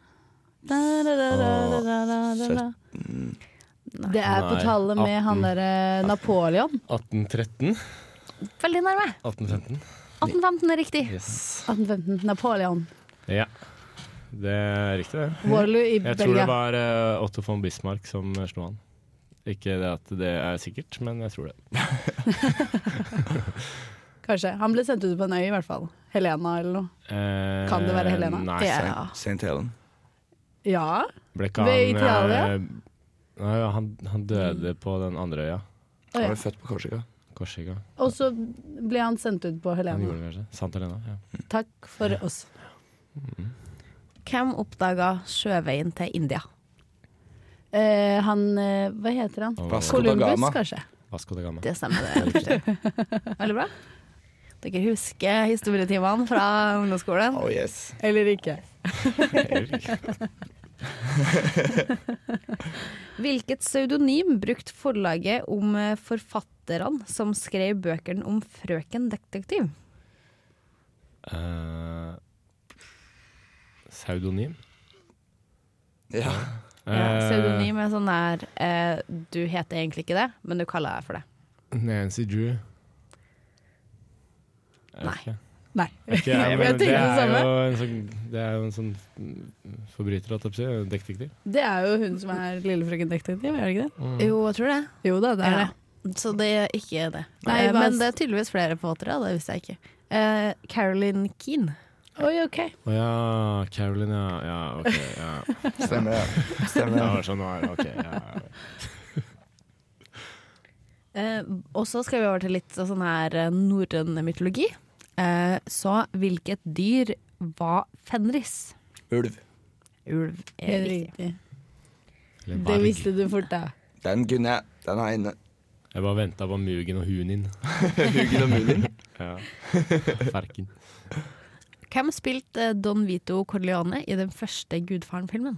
[SPEAKER 10] Da, da, da, da, da, da, da, da.
[SPEAKER 2] Det er på
[SPEAKER 7] Nei,
[SPEAKER 2] tallet med han
[SPEAKER 7] 18.
[SPEAKER 2] derre Napoleon.
[SPEAKER 7] 1813?
[SPEAKER 10] Veldig nærme.
[SPEAKER 7] 1815?
[SPEAKER 10] 1815 er riktig.
[SPEAKER 7] Yes.
[SPEAKER 2] 1815. Napoleon.
[SPEAKER 7] Ja. Det er riktig, det.
[SPEAKER 2] Waterloo i
[SPEAKER 7] Jeg tror det
[SPEAKER 2] Belgia.
[SPEAKER 7] var eh, Otto von Bismarck som eh, slo han. Ikke det at det er sikkert, men jeg tror det.
[SPEAKER 2] Kanskje. Han ble sendt ut på en øy, i hvert fall. Helena eller noe.
[SPEAKER 7] Eh,
[SPEAKER 2] Kan det være Helena?
[SPEAKER 7] Nei.
[SPEAKER 10] Ja.
[SPEAKER 1] St. Helen.
[SPEAKER 2] Ja.
[SPEAKER 7] Ble ikke han
[SPEAKER 2] Ved Italia?
[SPEAKER 7] eh, Nei, han, han døde på den andre øya.
[SPEAKER 2] Å,
[SPEAKER 1] Han
[SPEAKER 2] ja.
[SPEAKER 1] ble født på Korsika.
[SPEAKER 7] Korsika.
[SPEAKER 2] Og så ble han sendt ut på
[SPEAKER 7] Han
[SPEAKER 2] Helena.
[SPEAKER 7] gjorde det kanskje. Sant Helena? Ja.
[SPEAKER 2] Takk for oss.
[SPEAKER 10] Hvem oppdaga sjøveien til India?
[SPEAKER 2] eh, han eh, Hva heter han?
[SPEAKER 1] Vasco da
[SPEAKER 2] Columbus,
[SPEAKER 1] Gama.
[SPEAKER 2] kanskje?
[SPEAKER 7] Vasco da Gama.
[SPEAKER 6] Det stemmer. det er riktig. Veldig bra. Dere husker historietimene fra ungdomsskolen?
[SPEAKER 1] Oh yes.
[SPEAKER 2] Eller ikke.
[SPEAKER 10] Hvilket pseudonym brukt forlaget om eh, forfatterne som skrev bøkene om frøken detektiv?
[SPEAKER 7] Eh, pseudonym?
[SPEAKER 1] Ja.
[SPEAKER 10] Ja,
[SPEAKER 7] Eh,
[SPEAKER 10] pseudonym er sånn der eh, Du heter egentlig ikke det, men du kaller deg for det.
[SPEAKER 7] Eh, Nancy Drew. Jeg vet
[SPEAKER 10] Nei.
[SPEAKER 7] ikke.
[SPEAKER 2] Nei.
[SPEAKER 7] Jeg vet ikke, jeg,
[SPEAKER 2] Jeg tenker
[SPEAKER 7] men det,
[SPEAKER 2] det
[SPEAKER 7] er
[SPEAKER 2] samme.
[SPEAKER 7] jo en sånn, det er jo en sånn mm, forbryter, holdt jeg på å si. Detektiv.
[SPEAKER 2] Det er jo hun som er lillefrøken detektiv, er det ikke det?
[SPEAKER 6] Jo, jeg tror det.
[SPEAKER 2] Jo da, det er
[SPEAKER 6] Ja.
[SPEAKER 2] det.
[SPEAKER 6] Så det er ikke det.
[SPEAKER 2] Nei,
[SPEAKER 6] Eh,
[SPEAKER 2] hva-
[SPEAKER 6] Men det er tydeligvis flere forfattere, det visste jeg ikke. Eh, Caroline Keane.
[SPEAKER 2] Oi, ok.
[SPEAKER 7] Å ja, Caroline, ja. ja ok. Ja.
[SPEAKER 1] Stemmer det. Stemmer
[SPEAKER 7] Ja,
[SPEAKER 1] det.
[SPEAKER 7] sånn var det. Ok. Ja.
[SPEAKER 6] Eh, og så skal vi over til litt sånn her eh, norrøn mytologi. Eh, så hvilket dyr var Fenris?
[SPEAKER 1] Ulv.
[SPEAKER 6] Ulv er
[SPEAKER 2] Helt
[SPEAKER 6] riktig.
[SPEAKER 2] riktig.
[SPEAKER 7] Eller
[SPEAKER 2] Det
[SPEAKER 7] varg.
[SPEAKER 2] visste du fort, da.
[SPEAKER 1] Den kunne jeg. Den er inne.
[SPEAKER 7] Jeg bare venta på Mugen og Hunin.
[SPEAKER 1] Huggen og Munin.
[SPEAKER 7] Ja. Ferken.
[SPEAKER 6] Hvem spilte eh, Don Vito Corleone i den første Gudfaren-filmen?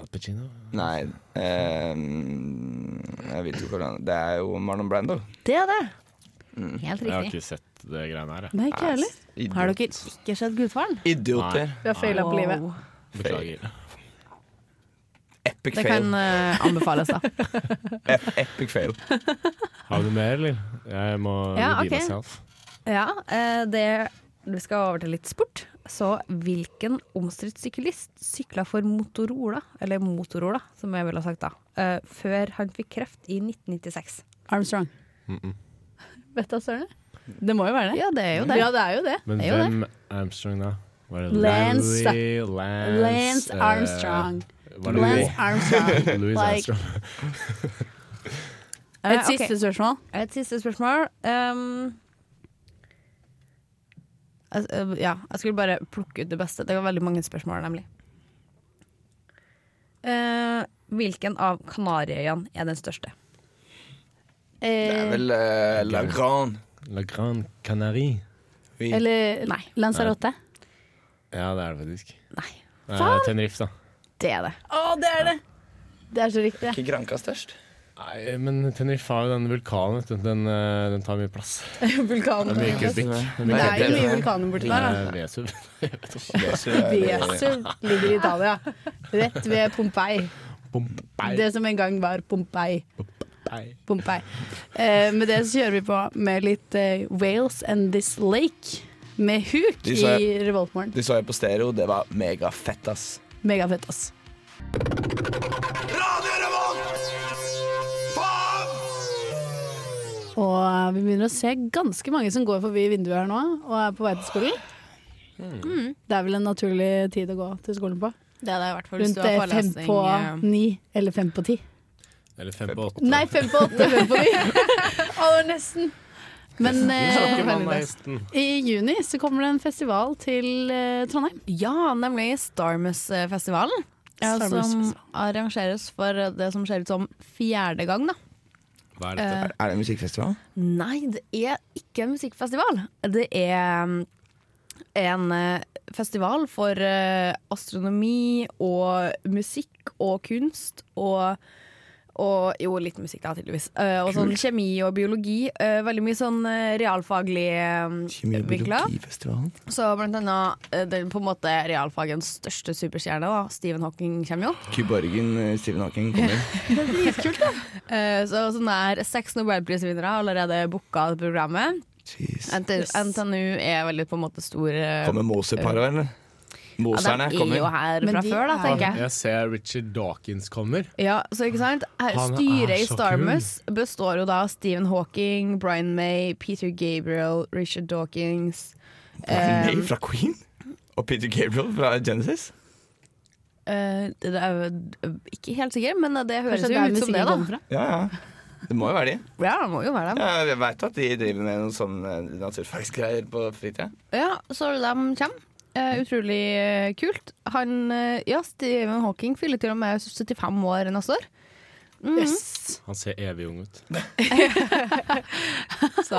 [SPEAKER 7] Al Pacino.
[SPEAKER 1] Nei. ehm, jeg vet ikke hvor den Det er jo Marlon Brando.
[SPEAKER 6] Det er det!
[SPEAKER 2] Mm.
[SPEAKER 6] Helt
[SPEAKER 7] Jeg har
[SPEAKER 6] riktig.
[SPEAKER 7] ikke sett det greiene her. jeg.
[SPEAKER 2] Nei, ikke jeg heller.
[SPEAKER 6] Har dere ikke sett Gudfaren?
[SPEAKER 1] Idioter.
[SPEAKER 2] Vi har feila på livet.
[SPEAKER 6] Wow.
[SPEAKER 7] Beklager.
[SPEAKER 1] Epic
[SPEAKER 6] Det
[SPEAKER 1] fail.
[SPEAKER 6] kan eh, anbefales, da.
[SPEAKER 1] E- Epic fail.
[SPEAKER 7] Har du mer, eller? Jeg må
[SPEAKER 6] Ja,
[SPEAKER 7] redeem
[SPEAKER 6] ok.
[SPEAKER 7] myself.
[SPEAKER 10] Ja, eh, det Vi skal over til litt sport. Så hvilken omstridt syklist sykla for Motorola, eller Motorola, som jeg ville ha sagt da, eh, før han fikk kreft i 1996?
[SPEAKER 2] Armstrong. Vet du hva søren er? Det må jo være det. Mm.
[SPEAKER 6] Ja, det er jo det.
[SPEAKER 2] Ja, det er jo det.
[SPEAKER 7] Men
[SPEAKER 6] Det er jo det.
[SPEAKER 7] hvem Armstrong, da? Var det
[SPEAKER 2] Lance-
[SPEAKER 7] Louis, Lance,
[SPEAKER 2] Lance
[SPEAKER 7] eh,
[SPEAKER 2] Armstrong.
[SPEAKER 7] var det
[SPEAKER 2] Lance Armstrong.
[SPEAKER 7] Louis, Louis
[SPEAKER 2] Like-
[SPEAKER 7] Armstrong.
[SPEAKER 10] Eh,
[SPEAKER 2] Et siste
[SPEAKER 10] ok,
[SPEAKER 2] spørsmål.
[SPEAKER 10] Et siste spørsmål. Um, altså, eh, ja, jeg skulle bare plukke ut det beste. Det var veldig mange spørsmål, nemlig. Eh, hvilken av Kanariøyene er den største?
[SPEAKER 1] Det er vel eh, La Grande.
[SPEAKER 7] La Grande Canarie.
[SPEAKER 1] Vi-
[SPEAKER 2] Eller
[SPEAKER 10] Nei.
[SPEAKER 2] Lanzarote.
[SPEAKER 7] Ja, det er det faktisk.
[SPEAKER 10] Nei,
[SPEAKER 7] Eh, Tenerife, da.
[SPEAKER 10] det er det.
[SPEAKER 2] Å, det er det! Det er så riktig.
[SPEAKER 1] Ikke Granca størst?
[SPEAKER 7] Nei, men Tenerife har jo den vulkanen, vet du. Den, eh, den tar mye plass.
[SPEAKER 2] Vulkanen.
[SPEAKER 7] Den blir ikke bygd.
[SPEAKER 2] Det
[SPEAKER 7] Den blir
[SPEAKER 2] er
[SPEAKER 7] ikke
[SPEAKER 2] jo
[SPEAKER 7] bygd.
[SPEAKER 2] mye vulkaner borti der. da.
[SPEAKER 7] Eh, Vesuv.
[SPEAKER 2] Vesuv ligger i Italia. Rett ved Pompeii.
[SPEAKER 7] Bombay.
[SPEAKER 2] Det som en gang var Pompeii.
[SPEAKER 7] Bombay.
[SPEAKER 2] Pompeii. Eh, med det så kjører vi på med litt eh, Wales and This Lake. Med huk
[SPEAKER 1] De
[SPEAKER 2] i
[SPEAKER 1] sa-
[SPEAKER 2] Revoltmorgen.
[SPEAKER 1] De så jeg på stereo, det var megafett, ass.
[SPEAKER 2] Megafett, ass. Og eh, vi begynner å se ganske mange som går forbi vinduet her nå og er på vei til skolen. Hmm. Mm. Det er vel en naturlig tid å gå til skolen på.
[SPEAKER 6] Det er det i hvert fall hvis
[SPEAKER 2] Rundt
[SPEAKER 6] du har
[SPEAKER 2] eh, fem
[SPEAKER 6] forelesning.
[SPEAKER 2] på
[SPEAKER 6] eh,
[SPEAKER 2] ni eller fem på ti.
[SPEAKER 7] Eller fem på åtte.
[SPEAKER 2] Nei, fem på åtte, fem på ni. Å, det var nesten. Men eh, i juni så kommer det en festival til eh, Trondheim.
[SPEAKER 6] Ja, nemlig Starmus-festivalen. Ja,
[SPEAKER 2] Starmus
[SPEAKER 6] som
[SPEAKER 2] Festival.
[SPEAKER 6] arrangeres for det som ser ut som fjerde gang, da.
[SPEAKER 7] Hva
[SPEAKER 6] Eh,
[SPEAKER 7] er dette?
[SPEAKER 1] Er, er det musikkfestival?
[SPEAKER 6] Nei, det er ikke en musikkfestival. Det er mm, en eh, festival for eh, astronomi og musikk og kunst og og jo, litt musikk da, tydeligvis. Eh, og sånn kjemi og biologi. eh, veldig mye sånn eh, realfaglig eh, vinkla.
[SPEAKER 1] Kjemibiologifestivalen?
[SPEAKER 6] Så blant annet eh, den på en måte realfagens største superstjerne, da, Stephen Hawking, kommer jo.
[SPEAKER 1] Kuborgen eh, Stephen Hawking kommer.
[SPEAKER 6] Eh, Så sånn er seks nobelprisvinnere allerede booka det programmet.
[SPEAKER 1] Jeez.
[SPEAKER 6] NTNU, er veldig på en måte stor eh,
[SPEAKER 1] Kommer Moser-paret, eller?
[SPEAKER 6] ja,
[SPEAKER 1] Moserne
[SPEAKER 6] De er jo
[SPEAKER 1] kommer.
[SPEAKER 6] her
[SPEAKER 2] Men
[SPEAKER 6] fra
[SPEAKER 2] de
[SPEAKER 6] før, da,
[SPEAKER 2] er-
[SPEAKER 6] tenker jeg.
[SPEAKER 7] Jeg ser Richard Dawkins kommer.
[SPEAKER 6] Ja, så ikke sant? Her,
[SPEAKER 7] Han er
[SPEAKER 6] styret i
[SPEAKER 7] så
[SPEAKER 6] Starmus består jo da av Stephen Hawking, Brian May, Peter Gabriel, Richard Dawkins
[SPEAKER 1] Nei,
[SPEAKER 6] um,
[SPEAKER 1] fra Queen? Og Peter Gabriel fra Genesis?
[SPEAKER 6] Eh, Det er jo ikke helt sikker, men det høres
[SPEAKER 2] Kanskje
[SPEAKER 6] jo
[SPEAKER 2] der
[SPEAKER 6] ut som
[SPEAKER 2] musikken
[SPEAKER 6] det, da.
[SPEAKER 2] kommer fra.
[SPEAKER 1] Ja, ja. Det må jo være de.
[SPEAKER 6] Ja, det må jo være dem.
[SPEAKER 1] Ja, jeg veit at de driver med noen sånne naturfagsgreier på fritida.
[SPEAKER 6] Ja, så de kommer. Eh, utrolig eh, kult. Han, eh, ja, Stephen Hawking fyller til og med 75 år neste år. Mm.
[SPEAKER 2] Yes.
[SPEAKER 7] Han ser evig ung ut.
[SPEAKER 6] Så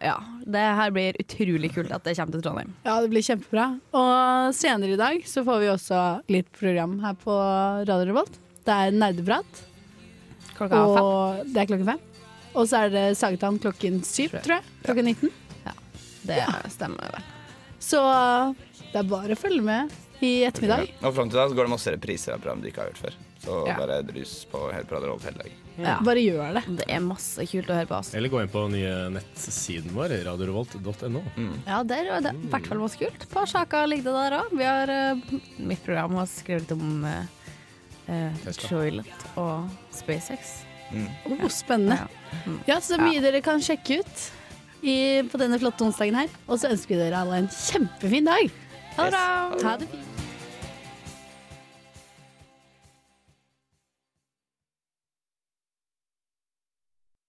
[SPEAKER 6] ja, det her blir utrolig kult at det kommer til Trondheim.
[SPEAKER 2] Ja, det blir kjempebra. Og senere i dag så får vi også litt program her på Radio Revolt. Det er nerdeprat,
[SPEAKER 6] Klokka fem.
[SPEAKER 2] og det er klokken fem. Og så er det Sagetann klokken syv, tror jeg. Klokken 19.
[SPEAKER 6] Det stemmer vel.
[SPEAKER 2] Så det er bare å følge med i ettermiddag.
[SPEAKER 1] Og fram til da så går det masse repriser av program du ikke har hørt før. Så
[SPEAKER 6] Ja.
[SPEAKER 1] bare drus på helt på Radio Revolt hele dagen.
[SPEAKER 6] Ja.
[SPEAKER 2] Bare gjør det.
[SPEAKER 6] Det er masse kult å høre på. Altså.
[SPEAKER 7] Eller gå inn på den nye nettsiden vår, radiorevolt.no.
[SPEAKER 6] Ja, det er det er i hvert fall masse kult. På Sjaka ligger det der òg. Vi har eh, mitt program har skrevet litt om eh, eh,
[SPEAKER 7] Tesla.
[SPEAKER 6] Toilet og SpaceX.
[SPEAKER 2] Oh, spennende. Ja, så det er mye dere kan sjekke ut i, på denne flotte onsdagen her. Og så ønsker vi dere alle en kjempefin dag. Ha det bra. Ha det fint.